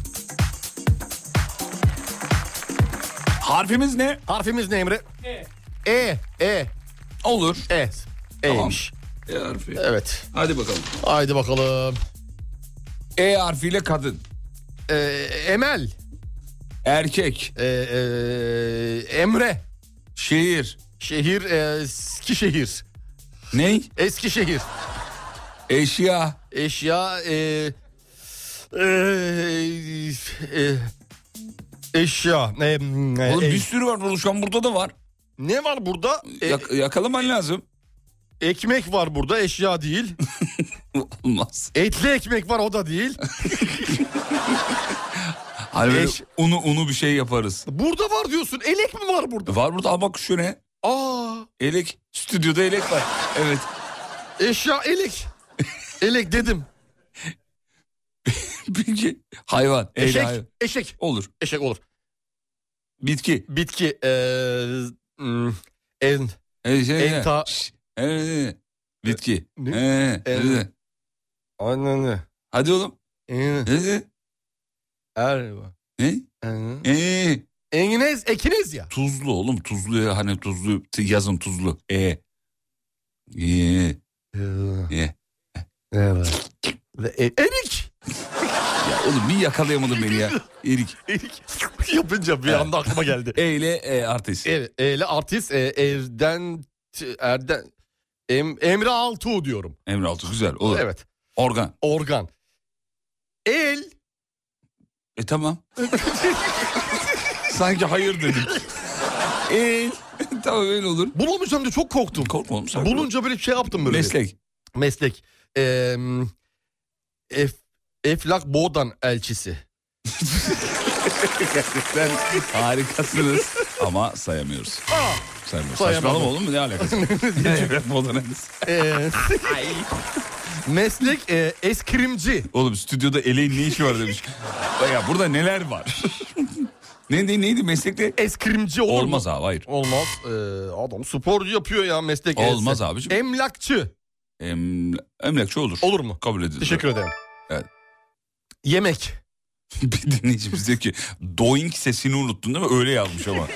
Speaker 3: Harfimiz ne?
Speaker 4: Harfimiz ne Emre? E. E. E.
Speaker 3: Olur.
Speaker 4: E.
Speaker 3: Tamam.
Speaker 4: E'ymiş.
Speaker 3: E harfi.
Speaker 4: Evet.
Speaker 3: Hadi bakalım.
Speaker 4: Haydi bakalım.
Speaker 3: E harfiyle kadın.
Speaker 4: E, Emel. E,
Speaker 3: Erkek.
Speaker 4: Emre.
Speaker 3: Şehir.
Speaker 4: Şehir e, Eskişehir.
Speaker 3: Ne?
Speaker 4: Eskişehir.
Speaker 3: Eşya.
Speaker 4: Eşya e, e, e, eşya. E, e,
Speaker 3: Oğlum bir sürü var oluşan burada da var.
Speaker 4: Ne var burada? E,
Speaker 3: Yak- yakalaman lazım.
Speaker 4: Ekmek var burada eşya değil.
Speaker 3: Olmaz.
Speaker 4: Etli ekmek var o da değil.
Speaker 3: Hani böyle
Speaker 4: Eş-
Speaker 3: unu unu bir şey yaparız.
Speaker 4: Burada var diyorsun. Elek mi var burada?
Speaker 3: Var burada ama bak şu ne?
Speaker 4: Aa.
Speaker 3: Elek. Stüdyoda elek var. Evet.
Speaker 4: Eşya elek. Elek dedim.
Speaker 3: Peki. Hayvan. Eyle
Speaker 4: Eşek.
Speaker 3: hayvan.
Speaker 4: Eşek.
Speaker 3: Olur.
Speaker 4: Eşek olur.
Speaker 3: Bitki.
Speaker 4: Bitki. Eee... hmm, en.
Speaker 3: E, şey,
Speaker 4: Enta.
Speaker 3: Şş, e, e, bitki.
Speaker 4: Ne?
Speaker 3: E, e,
Speaker 4: E. Ananı.
Speaker 3: Hadi oğlum.
Speaker 4: En.
Speaker 3: E, e,
Speaker 4: Erva.
Speaker 3: Ne?
Speaker 4: En.
Speaker 3: E.
Speaker 4: Enginez, ekiniz ya.
Speaker 3: Tuzlu oğlum tuzlu ya, hani tuzlu t- yazın tuzlu. E. E. E.
Speaker 4: Evet. e- Erik.
Speaker 3: Ya oğlum bir yakalayamadın beni ya. Erik.
Speaker 4: Erik. Yapınca bir anda aklıma geldi.
Speaker 3: E ile e artist.
Speaker 4: Evet. Eyle artist. E, Erden. t- Erden. Em, Emre Altuğ diyorum.
Speaker 3: Emre Altı güzel olur.
Speaker 4: Evet.
Speaker 3: Organ.
Speaker 4: Organ. El.
Speaker 3: E tamam. Sanki hayır dedim. e tamam öyle olur.
Speaker 4: Bulamayacağım diye çok korktum.
Speaker 3: Korkma oğlum sen.
Speaker 4: Bulunca böyle şey yaptım böyle.
Speaker 3: Meslek.
Speaker 4: Meslek. Eee, ef, Eflak Boğdan elçisi.
Speaker 3: Gerçekten harikasınız ama sayamıyoruz. Sayamıyoruz.
Speaker 4: Sayamam.
Speaker 3: Saçmalama oğlum mu ne alakası? Eflak Boğdan elçisi.
Speaker 4: Eee, meslek eee, eskrimci.
Speaker 3: Oğlum stüdyoda eleğin ne işi var demiş. Ya burada neler var? Neydi, neydi meslekte?
Speaker 4: Eskrimci olur mu?
Speaker 3: Olmaz abi hayır.
Speaker 4: Olmaz. Ee, adam sporcu yapıyor ya meslek.
Speaker 3: Olmaz
Speaker 4: else.
Speaker 3: abiciğim.
Speaker 4: Emlakçı.
Speaker 3: Em, emlakçı olur.
Speaker 4: E- Olur mu?
Speaker 3: Kabul edilir.
Speaker 4: Teşekkür ederim.
Speaker 3: Evet.
Speaker 4: Yemek.
Speaker 3: Bir dinleyicimiz diyor ki doink sesini unuttun değil mi? Öyle yazmış ama.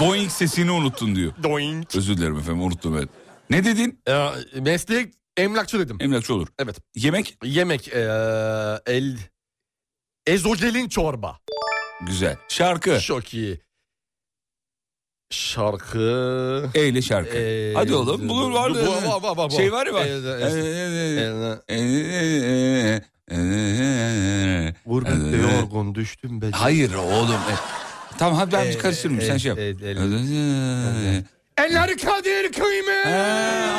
Speaker 3: doink sesini unuttun diyor.
Speaker 4: Doink.
Speaker 3: Özür dilerim efendim unuttum evet. Ne dedin?
Speaker 4: Ee, meslek emlakçı dedim.
Speaker 3: Emlakçı olur.
Speaker 4: Evet.
Speaker 3: Yemek?
Speaker 4: Yemek. ee, el. Ezogelin çorba.
Speaker 3: Güzel. Şarkı.
Speaker 4: Çok iyi. Şarkı. ee,
Speaker 3: Eyle şarkı. Hadi oğlum bulur var.
Speaker 4: Bu- bu- var, var, var.
Speaker 3: Şey var ya bak.
Speaker 4: Eyle-
Speaker 3: Vur
Speaker 4: ben de yorgun düştüm be.
Speaker 3: Hayır oğlum. e, Tamam hadi ben karıştırırım sen şey yap.
Speaker 4: Eller kadir kıymet.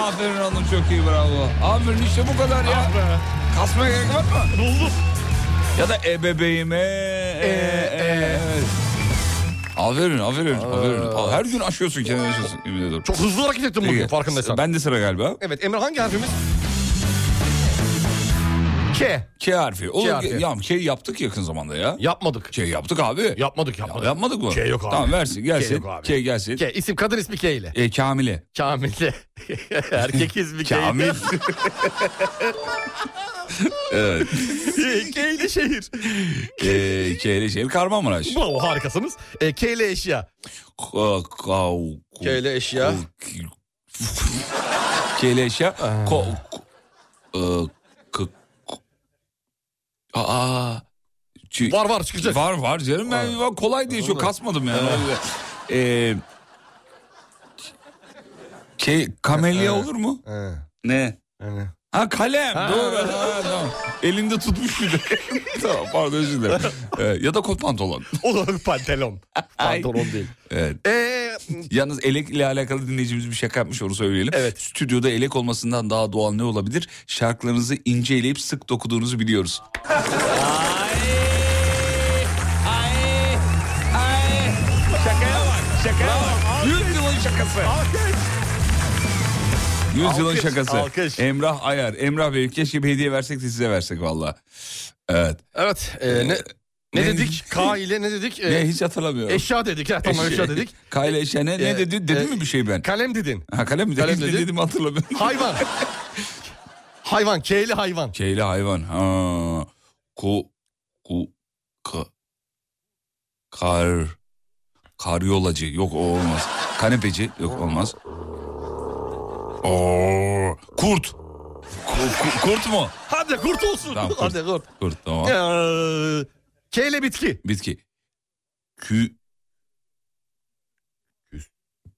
Speaker 3: aferin oğlum çok iyi bravo. Aferin işte bu kadar ya.
Speaker 4: Ah
Speaker 3: Kasmaya gerek var mı?
Speaker 4: Buldum.
Speaker 3: Ya da ebebeğime. E, e. Aferin aferin aferin. Her gün aşıyorsun kendini aşıyorsun. yemin ediyorum.
Speaker 4: Ee. Çok hızlı hareket ettin bugün,
Speaker 3: Peki,
Speaker 4: farkındaysan.
Speaker 3: Ben de sıra galiba.
Speaker 4: Evet Emre hangi harfimiz? K.
Speaker 3: K harfi. Oğlum,
Speaker 4: K harfi.
Speaker 3: Ya, K yaptık yakın zamanda ya.
Speaker 4: Yapmadık.
Speaker 3: K yaptık abi.
Speaker 4: Yapmadık yapmadık.
Speaker 3: yapmadık mı?
Speaker 4: K yok abi.
Speaker 3: Tamam versin gelsin.
Speaker 4: K yok abi.
Speaker 3: K gelsin.
Speaker 4: K isim kadın ismi K ile.
Speaker 3: E, Kamile.
Speaker 4: Kamil'e. Erkek ismi K.
Speaker 3: Kamil. Evet.
Speaker 4: K ile şehir.
Speaker 3: E, K ile şehir Kahramanmaraş.
Speaker 4: Bravo harikasınız. E, K ile eşya.
Speaker 3: Ka- kav-
Speaker 4: K ile eşya.
Speaker 3: Kele eşya. Ko, ko, e, kı- ko- Aa. Çi-
Speaker 4: Var, var, çıkacak.
Speaker 3: Var var canım ben ben kolay diye çok kasmadım yani. Ee, ke, kamelya olur mu? Ne? Ha kalem
Speaker 12: Ha.
Speaker 3: doğru. Ha, tamam. Elinde tutmuş bir de. tamam pardon özür dilerim. Ee, ya da kot pantolon.
Speaker 4: Olur pantolon. Pantolon değil.
Speaker 3: Evet.
Speaker 4: Ee,
Speaker 3: Yalnız elekle alakalı dinleyicimiz bir şaka yapmış onu söyleyelim. Evet. Stüdyoda elek olmasından daha doğal ne olabilir? Şarkılarınızı ince eleyip sık dokuduğunuzu biliyoruz.
Speaker 6: Ay, ay. Şakaya bak, şakaya bak. Yüz yılın şakası.
Speaker 3: Yüzyılın
Speaker 12: Alkış,
Speaker 3: şakası.
Speaker 12: alkış.
Speaker 3: Emrah Ayar. Emrah Bey keşke bir hediye versek de size versek valla. Evet.
Speaker 4: Evet. e, ne, Ee, Ne dedik? K ile ne dedik? E,
Speaker 3: Ne hiç hatırlamıyorum.
Speaker 4: Eşya dedik. Ha, tamam eşya dedik.
Speaker 3: K ile eşya ne, ne
Speaker 4: E,
Speaker 3: dedi? Dedim mi bir şey ben?
Speaker 4: Kalem dedin.
Speaker 3: Ha, kalem mi?
Speaker 4: Kalem
Speaker 3: Kalem
Speaker 4: dedin.
Speaker 3: dedim hatırlamıyorum.
Speaker 4: Hayvan. hayvan. K ile hayvan.
Speaker 3: Şeyli hayvan. Ha. Ku ku ka, kar karyolacı yok o olmaz. Kanepeci yok olmaz. Oo, kurt. Ku- ku- kurt mu?
Speaker 4: Hadi kurt olsun.
Speaker 3: Tamam, kurt.
Speaker 4: Hadi kurt.
Speaker 3: Kurt tamam.
Speaker 4: Ee, K ile bitki.
Speaker 3: Bitki. Kü küs-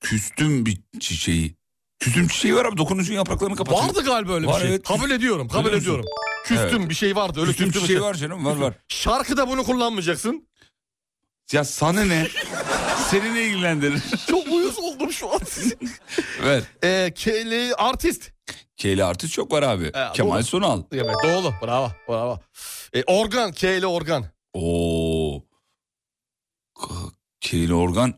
Speaker 3: küstüm bir çiçeği. Küstüm çiçeği var abi dokunucun yapraklarını kapatıyor.
Speaker 4: Vardı galiba öyle bir
Speaker 3: Var,
Speaker 4: şey.
Speaker 3: evet.
Speaker 4: Kabul ediyorum, kabul
Speaker 3: Biliyor musun?
Speaker 4: ediyorum. Küstüm
Speaker 3: Evet.
Speaker 4: bir şey vardı. Öyle
Speaker 3: Küstüm
Speaker 4: küstüm
Speaker 3: çiçeği var canım, var, var.
Speaker 4: Şarkıda bunu kullanmayacaksın.
Speaker 3: Ya sana ne? Seni ne ilgilendirir?
Speaker 4: Çok uyuz oldum şu an.
Speaker 3: Ver.
Speaker 4: ee, K ile artist.
Speaker 3: Keli artı çok var abi. Kemal
Speaker 4: doğru.
Speaker 3: Sunal.
Speaker 4: Evet doğru. Bravo. Bravo. Ee, organ. K ile organ.
Speaker 3: Oo. K- Kelin organ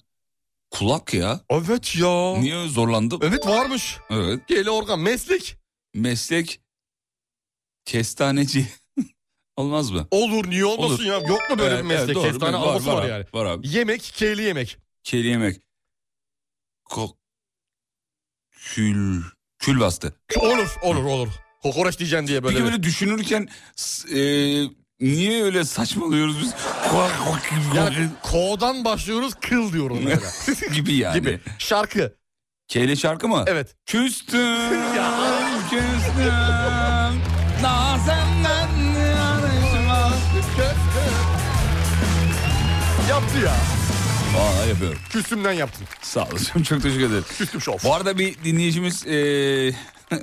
Speaker 3: kulak ya.
Speaker 4: Evet ya.
Speaker 3: Niye zorlandım?
Speaker 4: Evet varmış.
Speaker 3: Evet.
Speaker 4: K ile organ. Meslek.
Speaker 3: Meslek kestaneci. Olmaz mı?
Speaker 4: Olur niye olmasın
Speaker 3: Olur.
Speaker 4: ya? Yok mu böyle
Speaker 3: Evet,
Speaker 4: bir meslek?
Speaker 3: evet, doğru.
Speaker 4: Kestane
Speaker 3: Var,
Speaker 4: havası var,
Speaker 3: var abi,
Speaker 4: yani.
Speaker 3: var abi.
Speaker 4: Yemek. K ile yemek.
Speaker 3: Keli yemek. Ko- kül kül bastı.
Speaker 4: Olur. Olur olur. Kokoreç diyeceksin diye böyle.
Speaker 3: Peki böyle düşünürken s- e, niye öyle saçmalıyoruz biz? Ko- ko-
Speaker 4: Yani ko'dan başlıyoruz kıl diyoruz mesela.
Speaker 3: gibi yani.
Speaker 4: Gibi. Şarkı.
Speaker 3: Keyle şarkı mı?
Speaker 4: Evet.
Speaker 3: Küstüm.
Speaker 6: Küstüm. Nazemden yanışmaz.
Speaker 4: Yaptı ya.
Speaker 3: Aa yapıyorum.
Speaker 4: Küstümden yaptın.
Speaker 3: Sağ olasın. Çok teşekkür ederim. Bu arada bir dinleyicimiz eee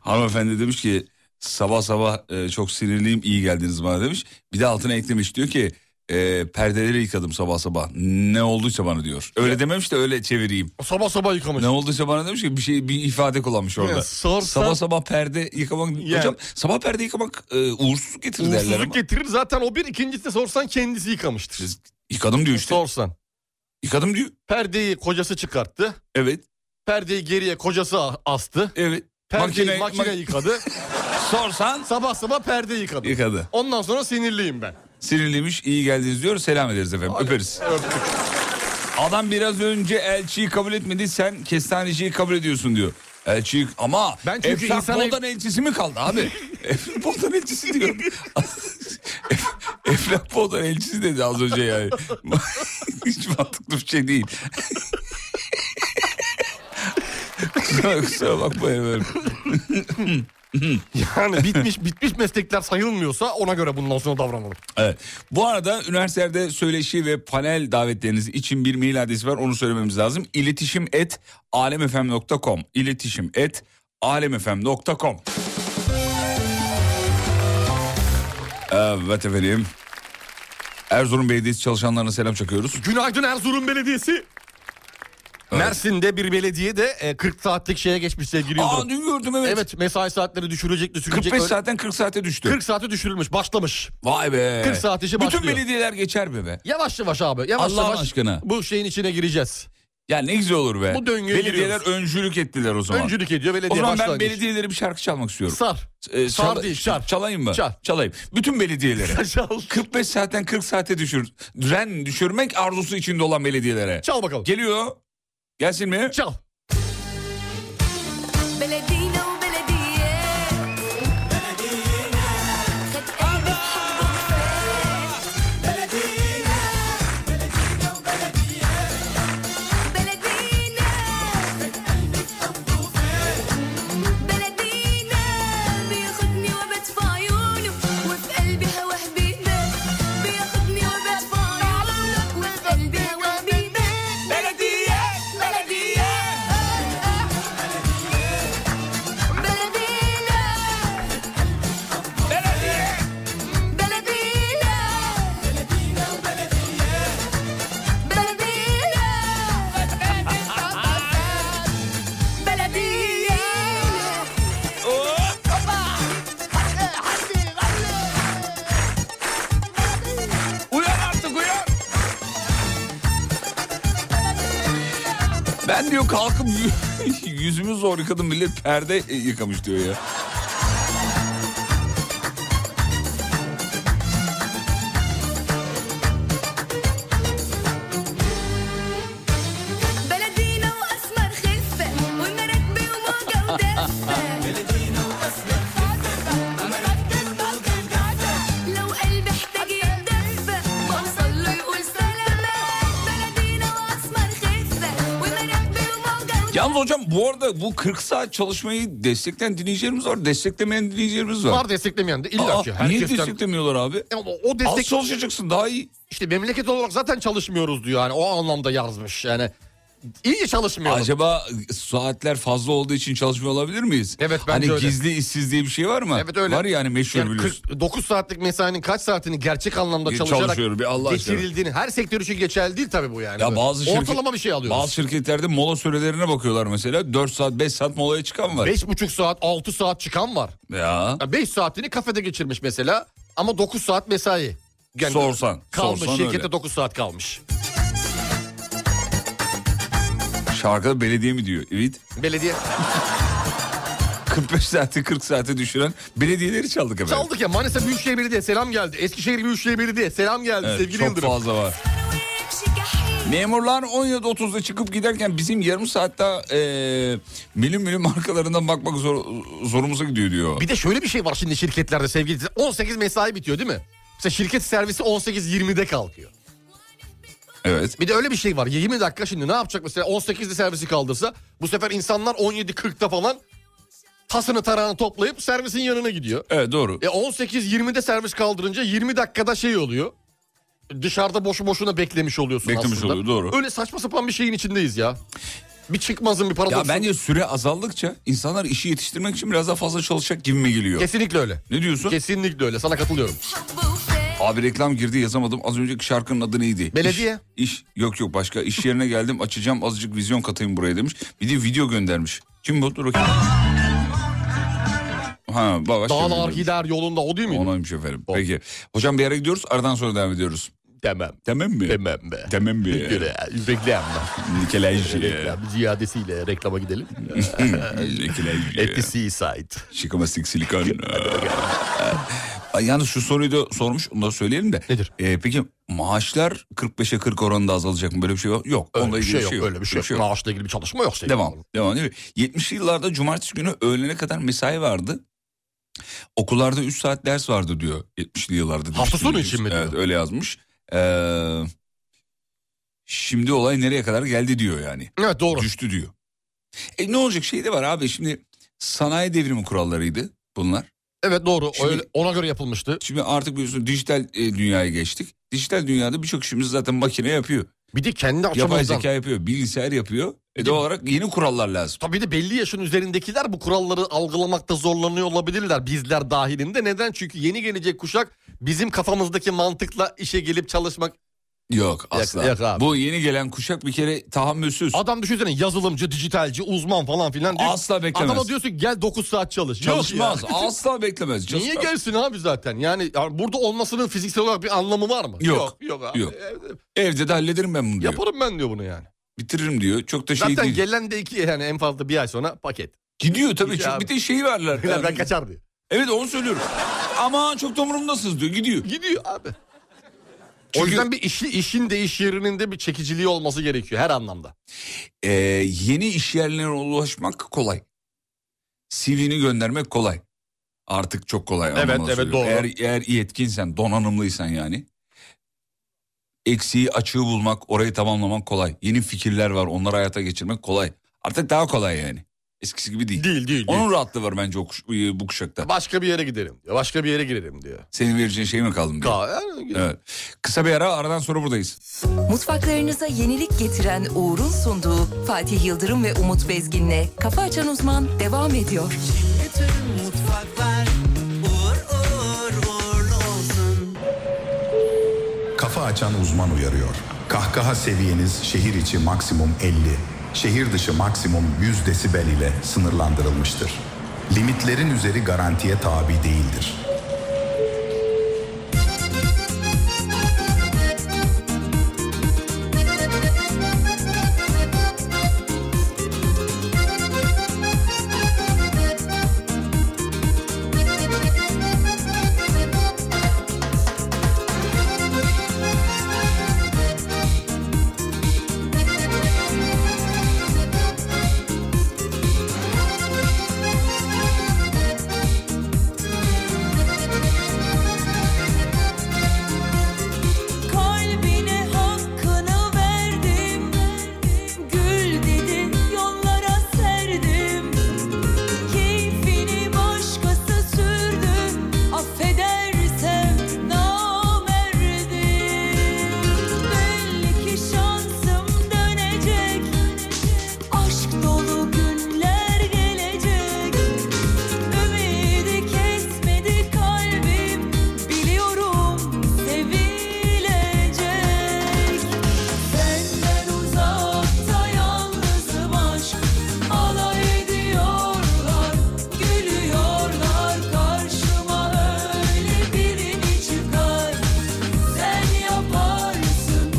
Speaker 3: hanımefendi demiş ki sabah sabah eee, çok sinirliyim iyi geldiniz bana demiş. Bir de altına eklemiş diyor ki eee, perdeleri yıkadım sabah sabah ne olduysa bana diyor. Öyle dememiş de öyle çevireyim.
Speaker 4: Sabah sabah yıkamış.
Speaker 3: Ne olduysa bana demiş ki bir şey bir ifade kullanmış orada.
Speaker 4: Ya, sorsan-
Speaker 3: Sabah sabah perde yıkamak
Speaker 4: Yani-
Speaker 3: hocam sabah perde yıkamak eee, uğursuzluk getirir derler ama.
Speaker 4: Uğursuzluk getirir zaten o bir ikincisi de sorsan kendisi yıkamıştır.
Speaker 3: Yıkadım diyor işte.
Speaker 4: Sorsan.
Speaker 3: Yıkadım diyor.
Speaker 4: Perdeyi kocası çıkarttı.
Speaker 3: Evet.
Speaker 4: Perdeyi geriye kocası a- astı.
Speaker 3: Evet.
Speaker 4: Perdeyi makine,
Speaker 3: Makine-
Speaker 4: yıkadı.
Speaker 3: Sorsan.
Speaker 4: Sabah sabah perde yıkadı.
Speaker 3: Yıkadı.
Speaker 4: Ondan sonra sinirliyim ben.
Speaker 3: Sinirliymiş iyi geldiniz diyor. Selam ederiz efendim. Öperiz. Adam biraz önce elçiyi kabul etmedi. Sen kestaneciyi kabul ediyorsun diyor. Elçi ama ben
Speaker 12: çünkü insana-
Speaker 3: elçisi mi kaldı abi? Eflak Boldan elçisi diyor. Ef- Eflak Boldan elçisi dedi az önce yani. Hiç mantıklı bir şey değil. kusura, kusura bakma efendim.
Speaker 4: yani bitmiş bitmiş meslekler sayılmıyorsa ona göre bundan sonra davranalım.
Speaker 3: Evet. Bu arada üniversitelerde söyleşi ve panel davetleriniz için bir mail adresi var. Onu söylememiz lazım. İletişim et alemfm.com İletişim et alemfm.com Evet efendim. Erzurum Belediyesi çalışanlarına selam çakıyoruz.
Speaker 4: Günaydın Erzurum Belediyesi. Mersin'de bir belediye de e, 40 saatlik şeye geçmiş sevgili Yıldırım.
Speaker 3: Aa, dün gördüm evet.
Speaker 4: Evet mesai saatleri düşürülecek düşürülecek.
Speaker 3: 45
Speaker 4: Öyle-
Speaker 3: saatten 40 saate düştü.
Speaker 4: 40 saate düşürülmüş başlamış.
Speaker 3: Vay be.
Speaker 4: 40 saat işi
Speaker 3: Bütün
Speaker 4: başlıyor.
Speaker 3: belediyeler geçer be be.
Speaker 4: Yavaş yavaş abi yavaş
Speaker 3: Allah
Speaker 4: yavaş
Speaker 3: aşkına.
Speaker 4: bu şeyin içine gireceğiz.
Speaker 3: Ya ne güzel olur be.
Speaker 4: Bu döngüye
Speaker 3: Belediyeler
Speaker 4: giriyoruz.
Speaker 3: öncülük ettiler o zaman.
Speaker 4: Öncülük ediyor, belediye
Speaker 3: O zaman ben
Speaker 4: başlangıç.
Speaker 3: belediyelere bir şarkı çalmak istiyorum.
Speaker 4: Sar.
Speaker 3: Ee,
Speaker 4: Sar
Speaker 3: çala-
Speaker 4: değil, çar.
Speaker 3: Çalayım mı?
Speaker 4: Çal.
Speaker 3: Çalayım. Bütün belediyelere.
Speaker 4: Çal.
Speaker 3: 45 saatten 40 saate düşür. Ren düşürmek arzusu içinde olan belediyelere.
Speaker 4: Çal bakalım.
Speaker 3: Geliyor. Gelsin mi?
Speaker 4: Çal.
Speaker 15: بلدينا وبلدية بياخدني وبدفع عيونه وفي قلبي هواه بيبان بياخدني وبدفع عيونه وفي قلبي هواه بيبان بلدية بلدية بلدينا بلدية بلدينا بلدينا وبلدية بلدينا بلدية
Speaker 5: Eh,
Speaker 3: Uyan artık uyan. Ben diyor kalkıp yüzümü zor yıkadım millet perde e, yıkamış diyor ya.
Speaker 15: بلدينا واسمر خفه والمراكبي وموجه ودفه بلدينا واسمر خفه ومراكبي وموجه ودفه لو قلبي احتاج يدفه بوصل له يقول سلامه بلدينا واسمر خفه والمراكبي وموجه
Speaker 3: Yalnız hocam bu arada bu 40 saat çalışmayı destekleyen dinleyicilerimiz var. Desteklemeyen dinleyicilerimiz var.
Speaker 4: Var desteklemeyen de illa
Speaker 3: Aa,
Speaker 4: ki.
Speaker 3: Niye
Speaker 4: Herkesten-
Speaker 3: desteklemiyorlar abi?
Speaker 4: Ya o- o destek...
Speaker 3: Az çalışacaksın daha iyi.
Speaker 4: İşte memleket olarak zaten çalışmıyoruz diyor yani o anlamda yazmış yani. İyi çalışmıyoruz.
Speaker 3: Acaba saatler fazla olduğu için çalışmıyor olabilir miyiz? Evet
Speaker 4: bence
Speaker 3: Hani
Speaker 4: öyle.
Speaker 3: gizli işsiz diye bir şey var mı?
Speaker 4: Evet öyle.
Speaker 3: Var yani meşhur
Speaker 4: Yani
Speaker 3: biliyorsun.
Speaker 4: 49 saatlik mesainin kaç saatini gerçek anlamda
Speaker 3: Bir
Speaker 4: çalışarak
Speaker 3: çalışıyorum, bir Allah aşkına.
Speaker 4: geçirildiğini her sektör için geçerli değil tabii bu yani.
Speaker 3: Ya bazı şirket-
Speaker 4: Ortalama bir şey alıyoruz.
Speaker 3: Bazı şirketlerde mola sürelerine bakıyorlar mesela. 4 saat 5 saat molaya çıkan var.
Speaker 4: 5,5 saat 6 saat çıkan var.
Speaker 3: Ya.
Speaker 4: 5 saatini kafede geçirmiş mesela ama 9 saat mesai.
Speaker 3: Sorsan,
Speaker 4: Kalmış
Speaker 3: sorsan
Speaker 4: şirkete
Speaker 3: öyle.
Speaker 4: 9 saat kalmış.
Speaker 3: Şarkıda belediye mi diyor? Evet.
Speaker 4: Belediye.
Speaker 3: 45 saati 40 saate düşüren belediyeleri çaldık efendim.
Speaker 4: Çaldık ya Manisa Büyükşehir Belediye selam geldi. Eskişehir Büyükşehir Belediye selam geldi
Speaker 3: Evet,
Speaker 4: sevgili
Speaker 3: çok
Speaker 4: Yıldırım.
Speaker 3: fazla var. Memurlar 17.30'da çıkıp giderken bizim yarım saatte eee milim milim markalarından bakmak zor, zorumuza gidiyor diyor.
Speaker 4: Bir de şöyle bir şey var şimdi şirketlerde sevgili 18 mesai bitiyor değil mi? Mesela şirket servisi 18.20'de kalkıyor.
Speaker 3: Evet.
Speaker 4: Bir de öyle bir şey var. 20 dakika şimdi ne yapacak mesela 18'de servisi kaldırsa bu sefer insanlar 17.40'da falan tasını tarağını toplayıp servisin yanına gidiyor.
Speaker 3: Evet doğru.
Speaker 4: E 18-20'de servis kaldırınca 20 dakikada şey oluyor. Dışarıda boşu boşuna beklemiş oluyorsun
Speaker 3: Beklemiş
Speaker 4: aslında.
Speaker 3: oluyor, doğru.
Speaker 4: Öyle saçma sapan bir şeyin içindeyiz ya. Bir çıkmazın bir paradoksun.
Speaker 3: Ya bence süre azaldıkça insanlar işi yetiştirmek için biraz daha fazla çalışacak gibime geliyor.
Speaker 4: Kesinlikle öyle.
Speaker 3: Ne diyorsun?
Speaker 4: Kesinlikle öyle. Sana katılıyorum.
Speaker 3: Abi reklam girdi yazamadım. Az önceki şarkının adı neydi?
Speaker 4: Belediye.
Speaker 3: İş, iş- yok yok başka. İş yerine geldim açacağım azıcık vizyon katayım buraya demiş. Bir de video göndermiş. Kim bu? Dur bakayım. Ha, bak,
Speaker 4: Dağlı Arhider yolunda o değil miydi?
Speaker 3: Onaymış efendim. Peki. Hocam bir yere gidiyoruz. Aradan sonra devam ediyoruz.
Speaker 4: Tamam.
Speaker 3: Tamam mı?
Speaker 4: Tamam be.
Speaker 3: Tamam mı?
Speaker 4: Göre, Reklam.
Speaker 3: Nikolaj.
Speaker 4: Reklam ziyadesiyle reklama gidelim.
Speaker 3: Hmm, Nikolaj.
Speaker 4: At the seaside.
Speaker 3: Şıkama silikon. Ay, Yalnız şu soruyu da sormuş onu da söyleyelim de. Ee,
Speaker 4: Nedir?
Speaker 3: peki maaşlar 45'e 40 oranında azalacak mı böyle bir şey var? Yok.
Speaker 4: Öyle
Speaker 3: onunla
Speaker 4: bir
Speaker 3: ilgili
Speaker 4: şey yok, öyle bir şey yok. Maaşla ilgili bir çalışma yok sevgili
Speaker 3: Devam. Devam değil mi? 70'li yıllarda cumartesi günü öğlene kadar mesai vardı. Okullarda 3 saat ders vardı diyor 70'li yıllarda. demiş
Speaker 4: Hafta sonu
Speaker 3: dinleyicimiz.
Speaker 4: için mi diyor?
Speaker 3: Evet öyle yazmış. Ee, şimdi olay nereye kadar geldi diyor yani.
Speaker 4: Evet doğru.
Speaker 3: Düştü diyor. E ne olacak şey de var abi şimdi sanayi devrimi kurallarıydı bunlar.
Speaker 4: Evet doğru ona göre yapılmıştı.
Speaker 3: Şimdi artık biliyorsun dijital e, dünyaya geçtik. Dijital dünyada birçok işimizi zaten makine yapıyor.
Speaker 4: Bir de kendi
Speaker 3: Yapay
Speaker 4: açımızdan-
Speaker 3: zeka yapıyor, bilgisayar yapıyor. E doğal olarak yeni kurallar lazım.
Speaker 4: Tabii de belli yaşın üzerindekiler bu kuralları algılamakta zorlanıyor olabilirler bizler dahilinde. Neden? Çünkü yeni gelecek kuşak bizim kafamızdaki mantıkla işe gelip çalışmak.
Speaker 3: Yok asla.
Speaker 4: yok abi.
Speaker 3: Bu yeni gelen kuşak bir kere tahammülsüz.
Speaker 4: Adam düşünsene yazılımcı, dijitalci, uzman falan filan. diyor.
Speaker 3: Asla beklemez.
Speaker 4: Adama diyorsun ki gel 9 saat çalış.
Speaker 3: Çalışmaz, asla beklemez.
Speaker 4: Niye
Speaker 3: Çalışmaz.
Speaker 4: gelsin abi zaten? Yani ya burada olmasının fiziksel olarak bir anlamı var mı?
Speaker 3: Yok.
Speaker 4: Yok, abi. E,
Speaker 3: Yok. Evde de hallederim ben bunu diyor.
Speaker 4: Yaparım ben diyor bunu yani.
Speaker 3: Bitiririm diyor. Çok da şey
Speaker 4: Zaten
Speaker 3: değil.
Speaker 4: gelen de iki yani en fazla bir ay sonra paket.
Speaker 3: Gidiyor tabii. Çünkü
Speaker 4: abi.
Speaker 3: bir de şeyi verler.
Speaker 4: Ben kaçar diyor.
Speaker 3: Evet onu söylüyorum. Ama çok da umurumdasınız diyor. Gidiyor.
Speaker 4: Gidiyor abi. O yüzden bir işi, işin de iş yerinin de bir çekiciliği olması gerekiyor her anlamda.
Speaker 3: Ee, yeni iş yerlerine ulaşmak kolay. CV'ni göndermek kolay. Artık çok kolay.
Speaker 4: Evet,
Speaker 3: anlamında
Speaker 4: evet,
Speaker 3: söylüyorum.
Speaker 4: doğru.
Speaker 3: Eğer, eğer yetkinsen, donanımlıysan yani. Eksiği, açığı bulmak, orayı tamamlamak kolay. Yeni fikirler var, onları hayata geçirmek kolay. Artık daha kolay yani. Eskisi gibi değil.
Speaker 4: Değil, değil.
Speaker 3: Onun rahatlığı var bence o kuş- bu kuşakta.
Speaker 4: Başka bir yere gidelim diyor. Başka bir yere girelim diyor.
Speaker 3: Senin vereceğin şey mi kaldı? diyor. Evet. Kısa bir ara, aradan sonra buradayız.
Speaker 1: Mutfaklarınıza yenilik getiren Uğur'un sunduğu Fatih Yıldırım ve Umut Bezgin'le Kafa Açan Uzman devam ediyor.
Speaker 2: Bütün mutfaklar uğur uğur uğurlu olsun.
Speaker 7: Kafa açan uzman uyarıyor. Kahkaha seviyeniz şehir içi maksimum 50, şehir dışı maksimum 100 desibel ile sınırlandırılmıştır. Limitlerin üzeri garantiye tabi değildir.
Speaker 16: Kalbine hakkını verdim, gül dedi yollara serdim. Keyfini başkası sürdü, affedersem namerdim. Belli ki şansım dönecek, aşk dolu günler gelecek. Ümidi kesmedi kalbim. Biliyorum sevilecek Senden uzakta yalnızım aşk Alay ediyorlar, gülüyorlar Karşıma öyle birini çıkar Sen yaparsın,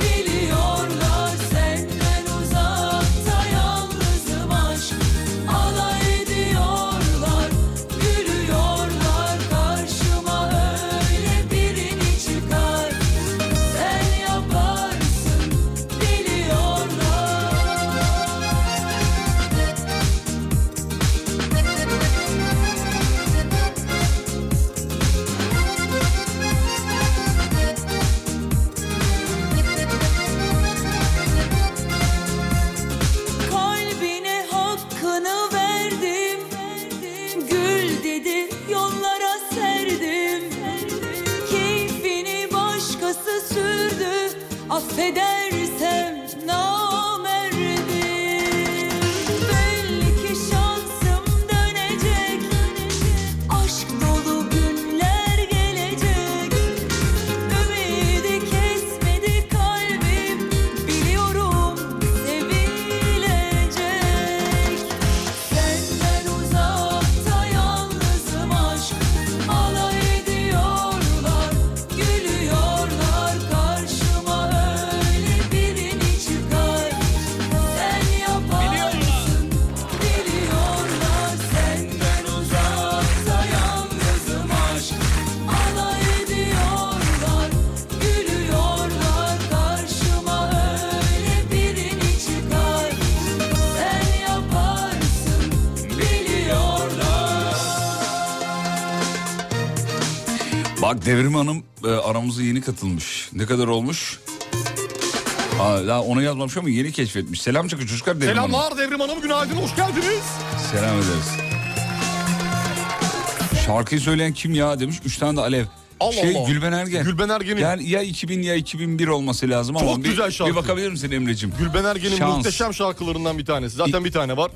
Speaker 16: biliyorlar Senden uzakta yalnızım aşk Alay ediyorlar Gülüyorlar karşıma öyle birini çıkar Sen yaparsın biliyorlar Kalbine hakkını verdim Gül dedi yollara serdim Keyfini başkası sürdü Affedersem namerdim Belli ki şansım dönecek Aşk dolu günler gelecek Ümidi kesmedi kalbim Biliyorum sevilecek Senden uzakta yalnızım aşk Alay ediyorlar, gülüyorlar Karşıma öyle
Speaker 3: Bak Devrim Hanım e, aramıza yeni katılmış. Ne kadar olmuş? Aa, daha onu yazmamış ama yeni keşfetmiş. Selam çakı çocuklar Devrim Hanım.
Speaker 4: Selamlar Devrim Hanım günaydın hoş geldiniz.
Speaker 3: Selam ederiz. Şarkıyı söyleyen kim ya demiş. Üç tane de Alev.
Speaker 4: Allah
Speaker 3: şey
Speaker 4: Allah.
Speaker 3: Gülben Ergen.
Speaker 4: Gülben Ergen'in.
Speaker 3: Yani ya 2000 ya 2001 olması lazım ama
Speaker 4: Çok
Speaker 3: bir,
Speaker 4: güzel şarkı.
Speaker 3: bir bakabilir misin Emre'cim?
Speaker 4: Gülben Ergen'in
Speaker 3: Şans.
Speaker 4: muhteşem şarkılarından bir tanesi. Zaten bir tane var.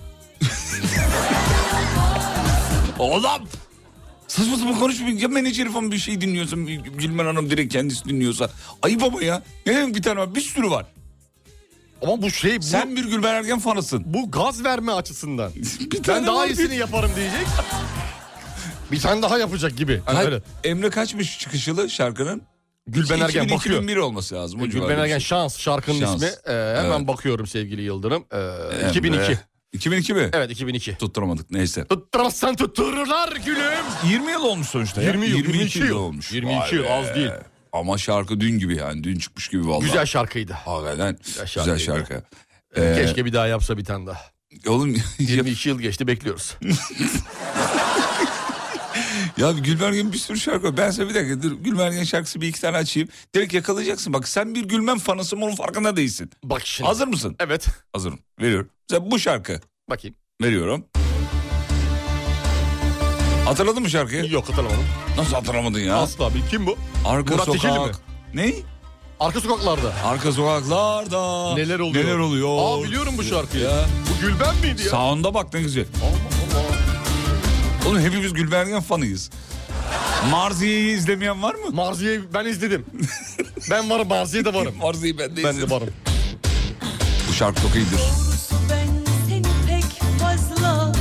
Speaker 3: Oğlum! Saçma sapan konuşmayın. Ya menajeri falan bir şey dinliyorsun. Gülmen Hanım direkt kendisi dinliyorsa. Ayıp ama ya. Ne demek bir tane var? Bir sürü var.
Speaker 4: Ama bu şey... Bu,
Speaker 3: Sen bir Gülben Ergen fanısın.
Speaker 4: Bu gaz verme açısından.
Speaker 3: bir
Speaker 4: ben daha iyisini yaparım diyecek. bir tane daha yapacak gibi. Hani öyle.
Speaker 3: Emre kaçmış çıkış yılı şarkının?
Speaker 4: Gülben Ergen
Speaker 3: 2000,
Speaker 4: bakıyor.
Speaker 3: 2001 olması lazım. O
Speaker 4: Gülben
Speaker 3: civarda bir
Speaker 4: Ergen
Speaker 3: şey.
Speaker 4: Şans şarkının
Speaker 3: Şans.
Speaker 4: ismi. Ee, hemen
Speaker 3: Evet.
Speaker 4: bakıyorum sevgili Yıldırım. Ee,
Speaker 3: Emre.
Speaker 4: 2002.
Speaker 3: 2002 mi?
Speaker 4: Evet 2002.
Speaker 3: Tutturamadık neyse.
Speaker 4: Tutturamazsan tuttururlar gülüm.
Speaker 3: 20 yıl olmuş sonuçta ya.
Speaker 4: 20 yıl, 22 yıl.
Speaker 3: olmuş.
Speaker 4: 22
Speaker 3: Vay
Speaker 4: yıl, az
Speaker 3: be.
Speaker 4: değil.
Speaker 3: Ama şarkı dün gibi yani dün çıkmış gibi vallahi.
Speaker 4: Güzel şarkıydı.
Speaker 3: Hakikaten güzel şarkı.
Speaker 4: şarkıydı.
Speaker 3: Ee,
Speaker 4: Keşke bir daha yapsa bir tane daha.
Speaker 3: Oğlum
Speaker 4: 22 yıl geçti bekliyoruz.
Speaker 3: Ya Gülbergen bir sürü şarkı var. Ben sana bir dakika dur Gülbergen şarkısı bir iki tane açayım. Direkt yakalayacaksın. Bak sen bir Gülmen fanısın onun farkında değilsin.
Speaker 4: Bak şimdi.
Speaker 3: Hazır mısın?
Speaker 4: Evet.
Speaker 3: Hazırım. Veriyorum. Mesela bu şarkı.
Speaker 4: Bakayım.
Speaker 3: Veriyorum. Hatırladın mı şarkıyı?
Speaker 4: Yok hatırlamadım.
Speaker 3: Nasıl hatırlamadın ya?
Speaker 4: Asla abi. Kim bu?
Speaker 3: Arka
Speaker 4: Murat
Speaker 3: sokak.
Speaker 4: Dikeli mi?
Speaker 3: Ne?
Speaker 4: Arka sokaklarda.
Speaker 3: Arka sokaklarda.
Speaker 4: Neler oluyor?
Speaker 3: Neler oluyor?
Speaker 4: Aa biliyorum bu şarkıyı.
Speaker 3: Ya.
Speaker 4: Bu Gülben miydi ya?
Speaker 3: Sound'a bak ne güzel. Oğlum hepimiz Gülbergen fanıyız. Marziye'yi izlemeyen var mı?
Speaker 4: Marziye'yi ben izledim. ben varım Marziye de varım.
Speaker 3: Marziye'yi ben de
Speaker 4: Ben de varım.
Speaker 3: Bu şarkı çok iyidir.
Speaker 16: Doğrusu ben seni pek fazla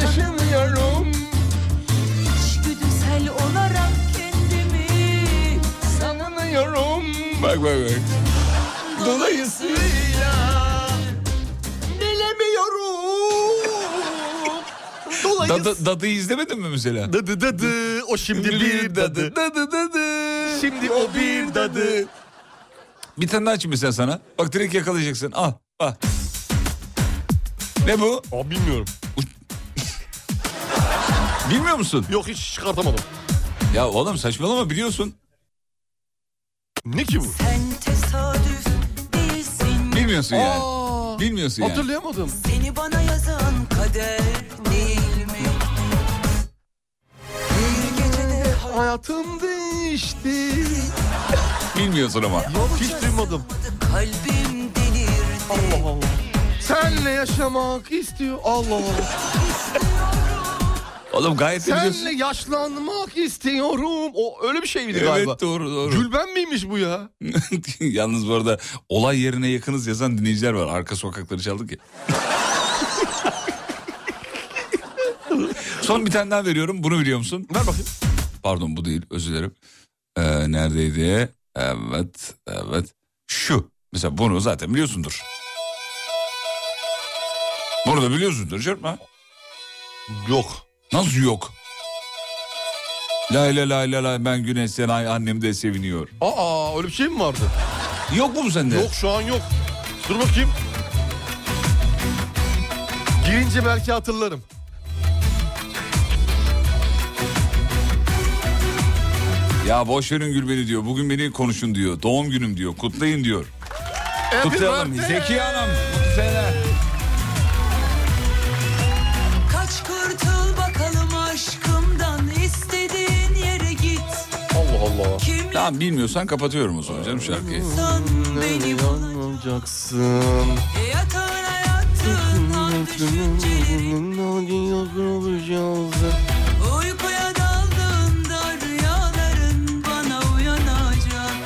Speaker 16: tanımıyorum İçgüdüsel olarak kendimi sanmıyorum
Speaker 3: Bak bak bak.
Speaker 16: Dolayısıyla bilemiyorum
Speaker 4: Dolayısıyla...
Speaker 3: Dadı, dadıyı izlemedin mi mesela?
Speaker 4: Dadı dadı o şimdi bir dadı.
Speaker 3: Dadı dadı.
Speaker 4: Şimdi o bir dadı.
Speaker 3: Bir tane daha açayım mesela sana. Bak direkt yakalayacaksın. Al bak. Ne bu?
Speaker 4: Aa bilmiyorum.
Speaker 3: Bilmiyor musun?
Speaker 4: Yok hiç çıkartamadım.
Speaker 3: Ya oğlum saçmalama biliyorsun.
Speaker 4: Ne ki bu?
Speaker 16: Sen tesadüf değilsin
Speaker 3: Bilmiyorsun yani.
Speaker 16: Aa,
Speaker 3: Bilmiyorsun yani.
Speaker 4: Hatırlayamadım.
Speaker 16: Seni bana yazan kader değil mi? Bir gecede
Speaker 4: hayatım değişti
Speaker 3: Bilmiyorsun ama.
Speaker 4: Yok hiç duymadım.
Speaker 16: Kalbim delirdi
Speaker 4: Allah Allah. Senle yaşamak istiyor. Allah Allah.
Speaker 3: Oğlum gayet de biliyorsun.
Speaker 4: Senle yaşlanmak istiyorum. O öyle bir şey miydi
Speaker 3: Evet
Speaker 4: galiba?
Speaker 3: doğru doğru.
Speaker 4: Gülben miymiş bu ya?
Speaker 3: Yalnız bu arada olay yerine yakınız yazan dinleyiciler var. Arka sokakları çaldık ya. Son bir tane daha veriyorum. Bunu biliyor musun?
Speaker 4: Ver bakayım.
Speaker 3: Pardon bu değil özür dilerim. Ee, neredeydi? Evet evet. Şu. Mesela bunu zaten biliyorsundur. Bunu da biliyorsundur canım ha?
Speaker 4: Yok.
Speaker 3: Nasıl yok? Lay lay lay lay lay ben güneş senay annem de seviniyor.
Speaker 4: Aa öyle bir şey mi vardı?
Speaker 3: Yok mu bu sende?
Speaker 4: Yok şu an yok. Dur bakayım. Girince belki hatırlarım.
Speaker 3: Ya boş verin Gülben'i diyor. Bugün beni konuşun diyor. Doğum günüm diyor. Kutlayın diyor. Kutlayalım. Zeki Hanım. mutlu seneler.
Speaker 16: Kaç kurtul bakalım aşkımdan istediğin yere git
Speaker 4: Allah Allah.
Speaker 3: Tamam bilmiyorsan kapatıyorum o zaman canım şarkıyı.
Speaker 16: Sen beni bana
Speaker 4: olacaksın.
Speaker 16: E yatağına yattığın an düşünceleri Uykuya daldığında rüyaların bana uyanacak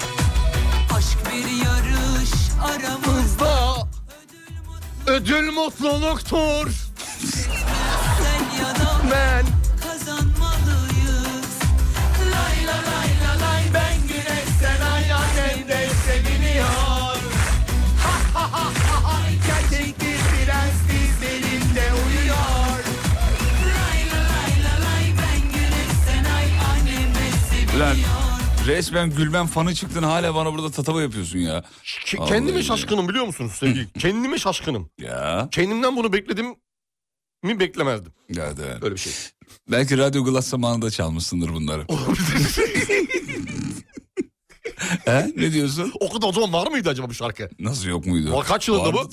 Speaker 16: Aşk bir yarış aramızda
Speaker 4: Ödül mutluluktur.
Speaker 16: Sen ya da
Speaker 4: Ben.
Speaker 16: kazanmalıyız Lay la lay la lay ben güneş sen ay annem de seviniyor
Speaker 2: Gerçek bir prens dizlerinde uyuyor
Speaker 3: Lan resmen Gülben fanı çıktın hala bana burada tatava yapıyorsun ya.
Speaker 4: Ke- kendime şaşkınım biliyor musunuz sevgili? kendime şaşkınım.
Speaker 3: Ya.
Speaker 4: Kendimden bunu bekledim. mi beklemezdim.
Speaker 3: Evet, evet.
Speaker 4: Öyle bir şey.
Speaker 3: Belki Radyo Glass zamanında çalmışsındır bunları. He? Ne diyorsun?
Speaker 4: O kadar o zaman var mıydı acaba bu şarkı?
Speaker 3: Nasıl yok muydu? şey
Speaker 4: Var kaç yılında bu?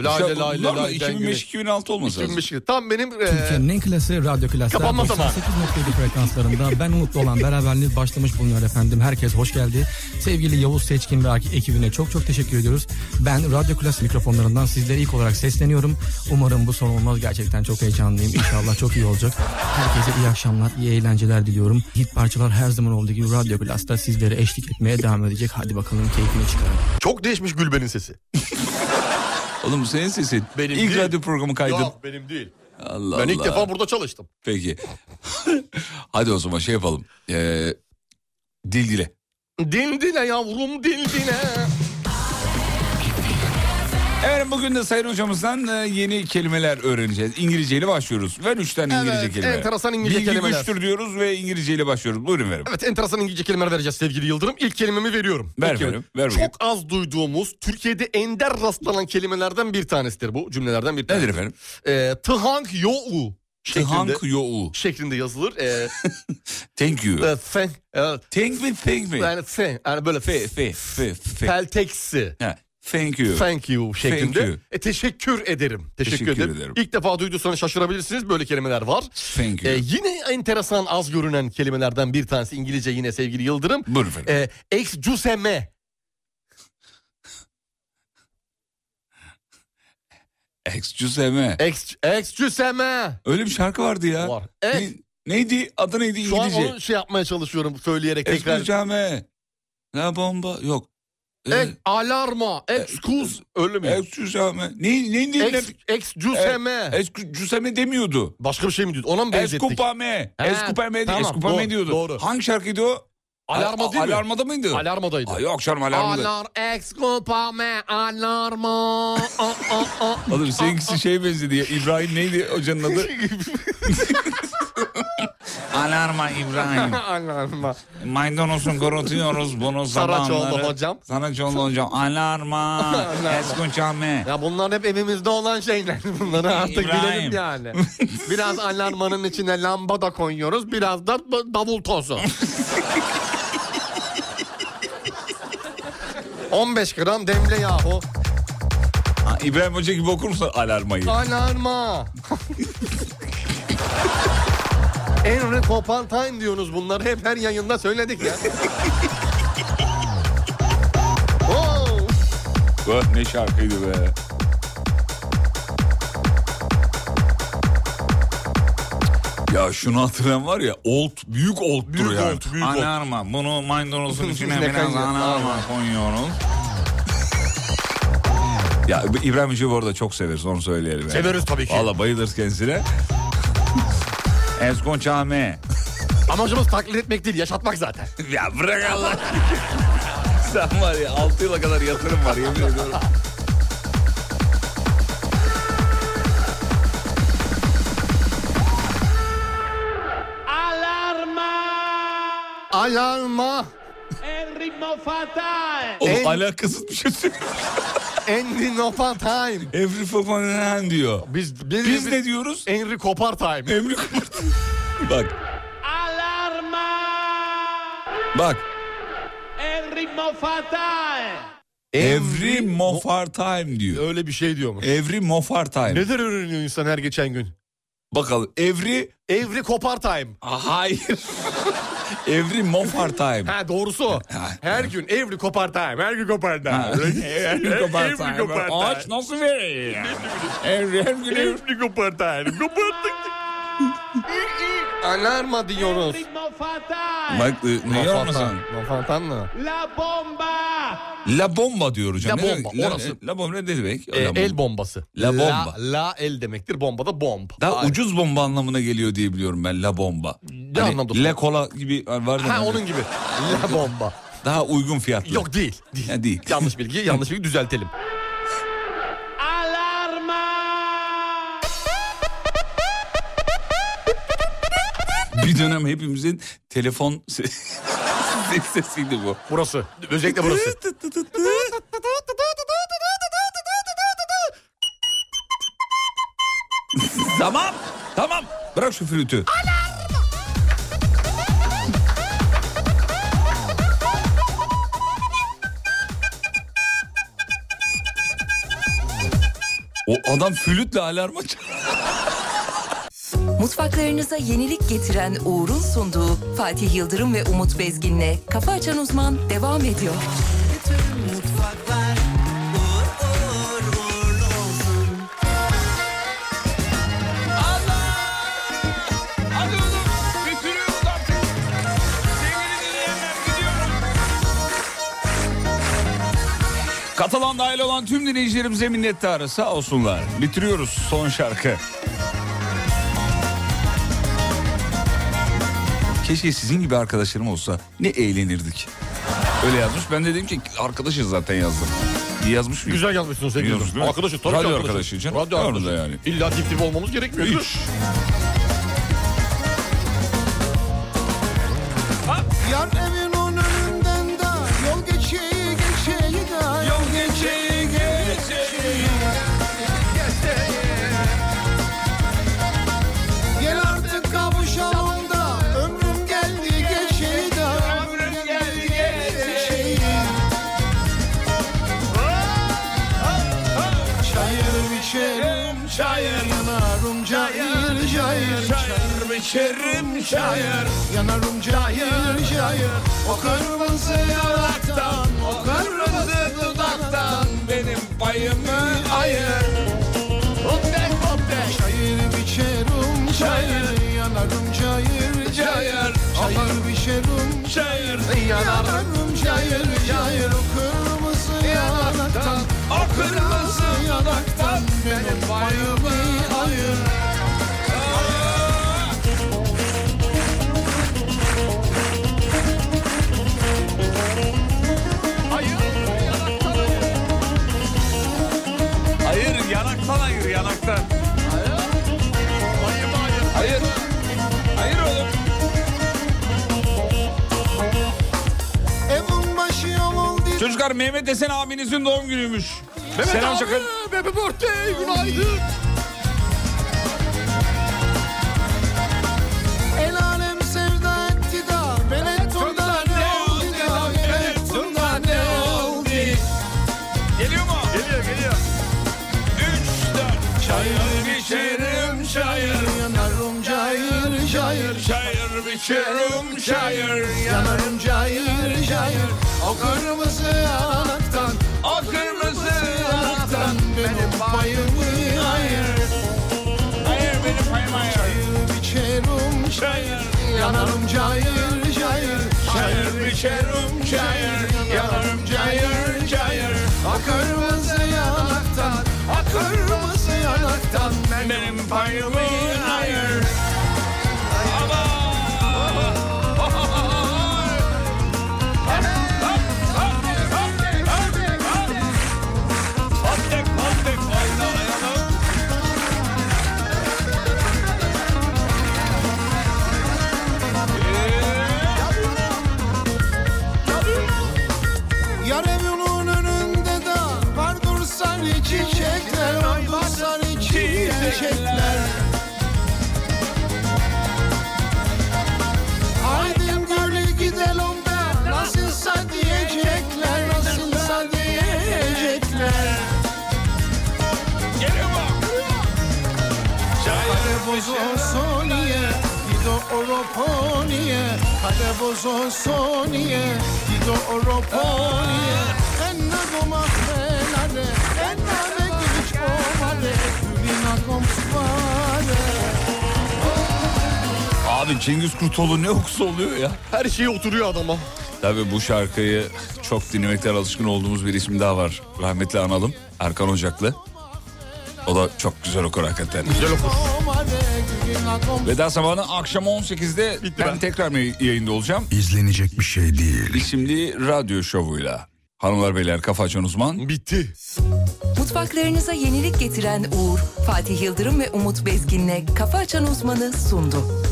Speaker 4: Lay lay lay lay
Speaker 3: Bunlar mı?
Speaker 4: lay den
Speaker 3: 2005 2006 olması lazım.
Speaker 4: 2005 Tam benim e,
Speaker 17: Türkiye'nin en klası radyo klası.
Speaker 4: Kapanma zamanı.
Speaker 17: 98.7 frekanslarında ben Umut olan beraberliği başlamış bulunuyor efendim. Herkes hoş geldi. Sevgili Yavuz Seçkin ve ekibine çok çok teşekkür ediyoruz. Ben radyo klas mikrofonlarından sizlere ilk olarak sesleniyorum. Umarım bu son olmaz. Gerçekten çok heyecanlıyım. İnşallah çok iyi olacak. Herkese iyi akşamlar, iyi eğlenceler diliyorum. Hit parçalar her zaman olduğu gibi radyo klasta sizlere eşlik etmeye devam edecek. Hadi bakalım keyfini çıkarın.
Speaker 4: Çok değişmiş Gülben'in sesi.
Speaker 3: Oğlum senin sesin.
Speaker 4: Benim
Speaker 3: İlk
Speaker 4: değil.
Speaker 3: radyo programı kaydım.
Speaker 4: Yok benim değil.
Speaker 3: Allah
Speaker 4: ben ilk
Speaker 3: Allah.
Speaker 4: defa burada çalıştım.
Speaker 3: Peki. Hadi o zaman şey yapalım. Ee, dil dile.
Speaker 4: Dindine yavrum dindine.
Speaker 3: Efendim bugün de Sayın Hocamızdan e, yeni kelimeler öğreneceğiz. İngilizceyle başlıyoruz. Ver üç tane
Speaker 4: Evet,
Speaker 3: İngilizce kelime.
Speaker 4: enteresan İngilizce
Speaker 3: Bilgi
Speaker 4: kelimeler.
Speaker 3: güçtür diyoruz ve İngilizceyle başlıyoruz. Buyurun verim.
Speaker 4: Evet enteresan İngilizce kelimeler vereceğiz sevgili Yıldırım. İlk kelimemi veriyorum.
Speaker 3: Ver
Speaker 4: İlk kelime.
Speaker 3: verim, ver bakayım.
Speaker 4: Çok az duyduğumuz Türkiye'de ender rastlanan kelimelerden bir tanesidir bu cümlelerden bir tanesi.
Speaker 3: Nedir efendim?
Speaker 4: Ee, Tıhank yo'u.
Speaker 3: Tıhank
Speaker 4: şeklinde- Şeklinde yazılır. Ee,
Speaker 3: Thank you.
Speaker 4: e, thank, evet.
Speaker 3: Thank me, thank me.
Speaker 4: Yani, thank, yani böyle
Speaker 3: Fe, fe, fe, fe.
Speaker 4: Pelteksi.
Speaker 3: Ha, Thank you.
Speaker 4: Thank you şeklinde.
Speaker 3: Thank you.
Speaker 4: E, teşekkür ederim. Teşekkür,
Speaker 3: Teşekkür
Speaker 4: ederim.
Speaker 3: ederim.
Speaker 4: İlk defa duyduysanız şaşırabilirsiniz. Böyle kelimeler var.
Speaker 3: Thank you.
Speaker 4: E, yine enteresan az görünen kelimelerden bir tanesi İngilizce yine sevgili Yıldırım.
Speaker 3: Buyurun efendim.
Speaker 4: E, excuseme.
Speaker 3: Excuseme.
Speaker 4: Ex, excuseme.
Speaker 3: Öyle bir şarkı vardı ya.
Speaker 4: Var. E-
Speaker 3: Ne- neydi? Adı neydi
Speaker 4: Şu an
Speaker 3: İngilizce?
Speaker 4: onu şey yapmaya çalışıyorum söyleyerek tekrar.
Speaker 3: Excuseme. La bomba. Yok. Ee,
Speaker 4: E, alarma.
Speaker 3: E,
Speaker 4: Excuse. Öyle mi?
Speaker 3: Excuseme. Ne, neydi?
Speaker 4: Ex, excuseme.
Speaker 3: Excuseme demiyordu.
Speaker 4: Başka bir şey mi diyordu? Ona mı benzettik?
Speaker 3: Escupame.
Speaker 4: Ha,
Speaker 3: Escupame değil.
Speaker 4: tamam,
Speaker 3: Escupame
Speaker 4: doğru,
Speaker 3: diyordu.
Speaker 4: doğru.
Speaker 3: Hangi şarkıydı o?
Speaker 4: Alarma
Speaker 3: A-
Speaker 4: değil mi?
Speaker 3: Alarmada mıydı?
Speaker 4: Alarmadaydı.
Speaker 3: Aa, yok canım alarmada.
Speaker 4: Alar, excuseme, alarma. Aa, aa, aa.
Speaker 3: Oğlum seninkisi şey benzedi ya. İbrahim neydi hocanın adı? Alarma İbrahim.
Speaker 4: Alarma.
Speaker 3: Maydanozun kurutuyoruz bunu sabahları.
Speaker 4: Saraçoğlu hocam.
Speaker 3: Saraçoğlu hocam. Alarma.
Speaker 4: Alarma.
Speaker 3: Escupame.
Speaker 4: Ya bunlar hep evimizde olan şeyler. Bunları artık
Speaker 3: İbrahim.
Speaker 4: bilelim yani. Biraz alarmanın içine lamba da koyuyoruz. Biraz da b- davul tozu. 15 gram demle yahu.
Speaker 3: Ha, İbrahim Hoca gibi okur musun alarmayı?
Speaker 4: Alarma. Enrico Pantine diyorsunuz bunlar. Hep her yayında söyledik ya. Oo.
Speaker 3: Vah, ne şarkıydı be. Ya şunu hatırlayan var ya old büyük oldtur
Speaker 6: Büyük
Speaker 3: yani.
Speaker 6: old, büyük old.
Speaker 3: anerma bunu maydanozun içine
Speaker 6: Ne
Speaker 3: biraz
Speaker 6: kanka?
Speaker 3: anerma koyuyoruz. ya bu İbrahim Hoca'yı bu arada çok severiz onu söyleyelim. Yani.
Speaker 4: Severiz tabii ki.
Speaker 3: Valla bayılırız kendisine. Eskon Çame.
Speaker 4: Amacımız taklit etmek değil, yaşatmak zaten.
Speaker 3: ya bırak Allah. Sen var ya 6 yıla kadar yatırım var yemin ediyorum.
Speaker 4: Alarma.
Speaker 3: Oğlum
Speaker 4: En-
Speaker 3: alakasız bir şey söylüyor.
Speaker 4: Enrico Pantine.
Speaker 3: Every fucking diyor.
Speaker 4: Biz,
Speaker 3: Biz, ne diyoruz?
Speaker 4: Enrico Pantine.
Speaker 3: Enrico Bak bak. Every mofar time diyor.
Speaker 4: Öyle bir şey diyormuş.
Speaker 3: Every mofar time.
Speaker 4: Neler öğreniyor insan her geçen gün?
Speaker 3: Bakalım every
Speaker 4: Every kopar time.
Speaker 3: Ah, hayır. every mofar time.
Speaker 4: Ha doğrusu o. Her gün every kopar time. Her gün kopar time.
Speaker 3: every kopar
Speaker 4: Every
Speaker 3: time.
Speaker 4: kopar time.
Speaker 3: Ağaç nasıl veriyor ya? every her gün every-
Speaker 4: Every kopar time. Koparttık. Alarma diyoruz.
Speaker 3: Bak e, ne yapmasın?
Speaker 4: Mafantan mı?
Speaker 3: La bomba diyor hocam.
Speaker 4: La
Speaker 3: Ne demek?
Speaker 4: bomba, orası.
Speaker 3: La, bomba ne demek?
Speaker 4: Ee,
Speaker 3: La bomba.
Speaker 4: el bombası.
Speaker 3: La bomba.
Speaker 4: La, la el demektir. Bomba da bomb.
Speaker 3: Daha
Speaker 4: Aynen.
Speaker 3: ucuz bomba anlamına geliyor diye biliyorum ben la bomba. Ne
Speaker 4: anlamda?
Speaker 3: La cola gibi var ya.
Speaker 4: Ha onun gibi. La bomba.
Speaker 3: Daha uygun fiyatlı.
Speaker 4: Yok değil. değil.
Speaker 3: Ya değil.
Speaker 4: Yanlış bilgi, yanlış bilgi düzeltelim.
Speaker 3: Bir dönem hepimizin telefon se- ses- sesiydi bu.
Speaker 4: Burası. Özellikle burası.
Speaker 3: Tamam tamam bırak şu flütü. O adam flütle alarma çalıyor.
Speaker 1: Mutfaklarınıza yenilik getiren Uğur'un sunduğu Fatih Yıldırım ve Umut Bezgin'le Kafa Açan Uzman devam ediyor.
Speaker 2: Mutfaklar uğur uğur uğurlu olsun. Allah! Hadi oğlum götürüyoruz artık. Sevgili dinleyenler gidiyorum.
Speaker 3: Katılan dahil olan tüm dinleyicilerimize minnettarız sağ olsunlar. Bitiriyoruz son şarkı. Keşke sizin gibi arkadaşlarım olsa ne eğlenirdik. Öyle yazmış. Ben de dedim ki arkadaşız zaten yazdım. İyi yazmış mıyım?
Speaker 4: Güzel yazmışsın sen.
Speaker 3: İyi yazmış, değil mi?
Speaker 4: Arkadaşı tabii
Speaker 3: Radyo
Speaker 4: ki
Speaker 3: arkadaşı için.
Speaker 4: Radyo
Speaker 3: Orada
Speaker 4: arkadaşı.
Speaker 3: yani.
Speaker 4: İlla tip tip olmamız gerekmiyor. değil mi?
Speaker 2: Yar evin onun önünden de yol geçeyi geçeyi de yol geçeyi geçeyi Gel artık kavuşalım da ömrüm geldi geçeyi de ömrüm geldi geçeyi Çayır içerim çayır yanarım cayır cayır Çayır içerim çayır yanarım cayır cayır O kırmızı yanaktan o kırmızı dudaktan benim payımı ayır Hop dek hop dek Çayır içerim çayır yanarım cayır cayır Çayır içerim çayır yanarım cayır cayır O kırmızı yanaktan o kırmızı yanaktan benim payımı ayır
Speaker 3: Hayır yanaktan hayır yanaktan. Hayır. Hayır oğlum.
Speaker 2: Evin başı yamul
Speaker 3: Çocuklar Mehmet Esen abinizin doğum günüymüş.
Speaker 2: Mehmet
Speaker 3: Selam
Speaker 2: abi,
Speaker 3: Çakır.
Speaker 2: Happy birthday, günaydın. El alem sevda etti da Benetton'da ne oldu da Benetton'da ne oldu
Speaker 3: Geliyor mu?
Speaker 2: Geliyor geliyor. Üç dört. Çayır içerim çayır Yanarım cayır cayır Çayır içerim çayır Yanarım cayır cayır O kırmızı yanaktan O kırmızı yanaktan Benim payımı ayır Hayır benim payımı ayır Çayır içerim çayır Yanarım cayır cayır Çayır içerim çayır Yanarım cayır cayır O kırmızı yanaktan O kırmızı yanaktan Benim payımı ayır Yar evinin önünde de vardır sarı çiçekler Vardır sarı çiçekler Aydın gölü gidelim de Nasılsa diyecekler Nasılsa diyecekler Gelin bak Kale bozosoniye Gido oroponiye Kale bozosoniye Gido oroponiye Enne domatmelare Enne ve güç omale Gülina komsvare
Speaker 3: Abi Cengiz Kurtoğlu ne okusa oluyor ya.
Speaker 4: Her şeye oturuyor adama.
Speaker 3: Tabii bu şarkıyı çok dinlemekten alışkın olduğumuz bir isim daha var. Rahmetli analım Erkan Ocaklı. O da çok güzel okur hakikaten. Güzel okur. Veda zamanı akşam 18'de ben, tekrar mı yayında olacağım?
Speaker 7: İzlenecek bir şey değil.
Speaker 3: İsimli radyo şovuyla. Hanımlar beyler kafa açan uzman.
Speaker 4: Bitti.
Speaker 1: Mutfaklarınıza yenilik getiren Uğur, Fatih Yıldırım ve Umut Bezgin'le Kafa Açan Uzman'ı sundu.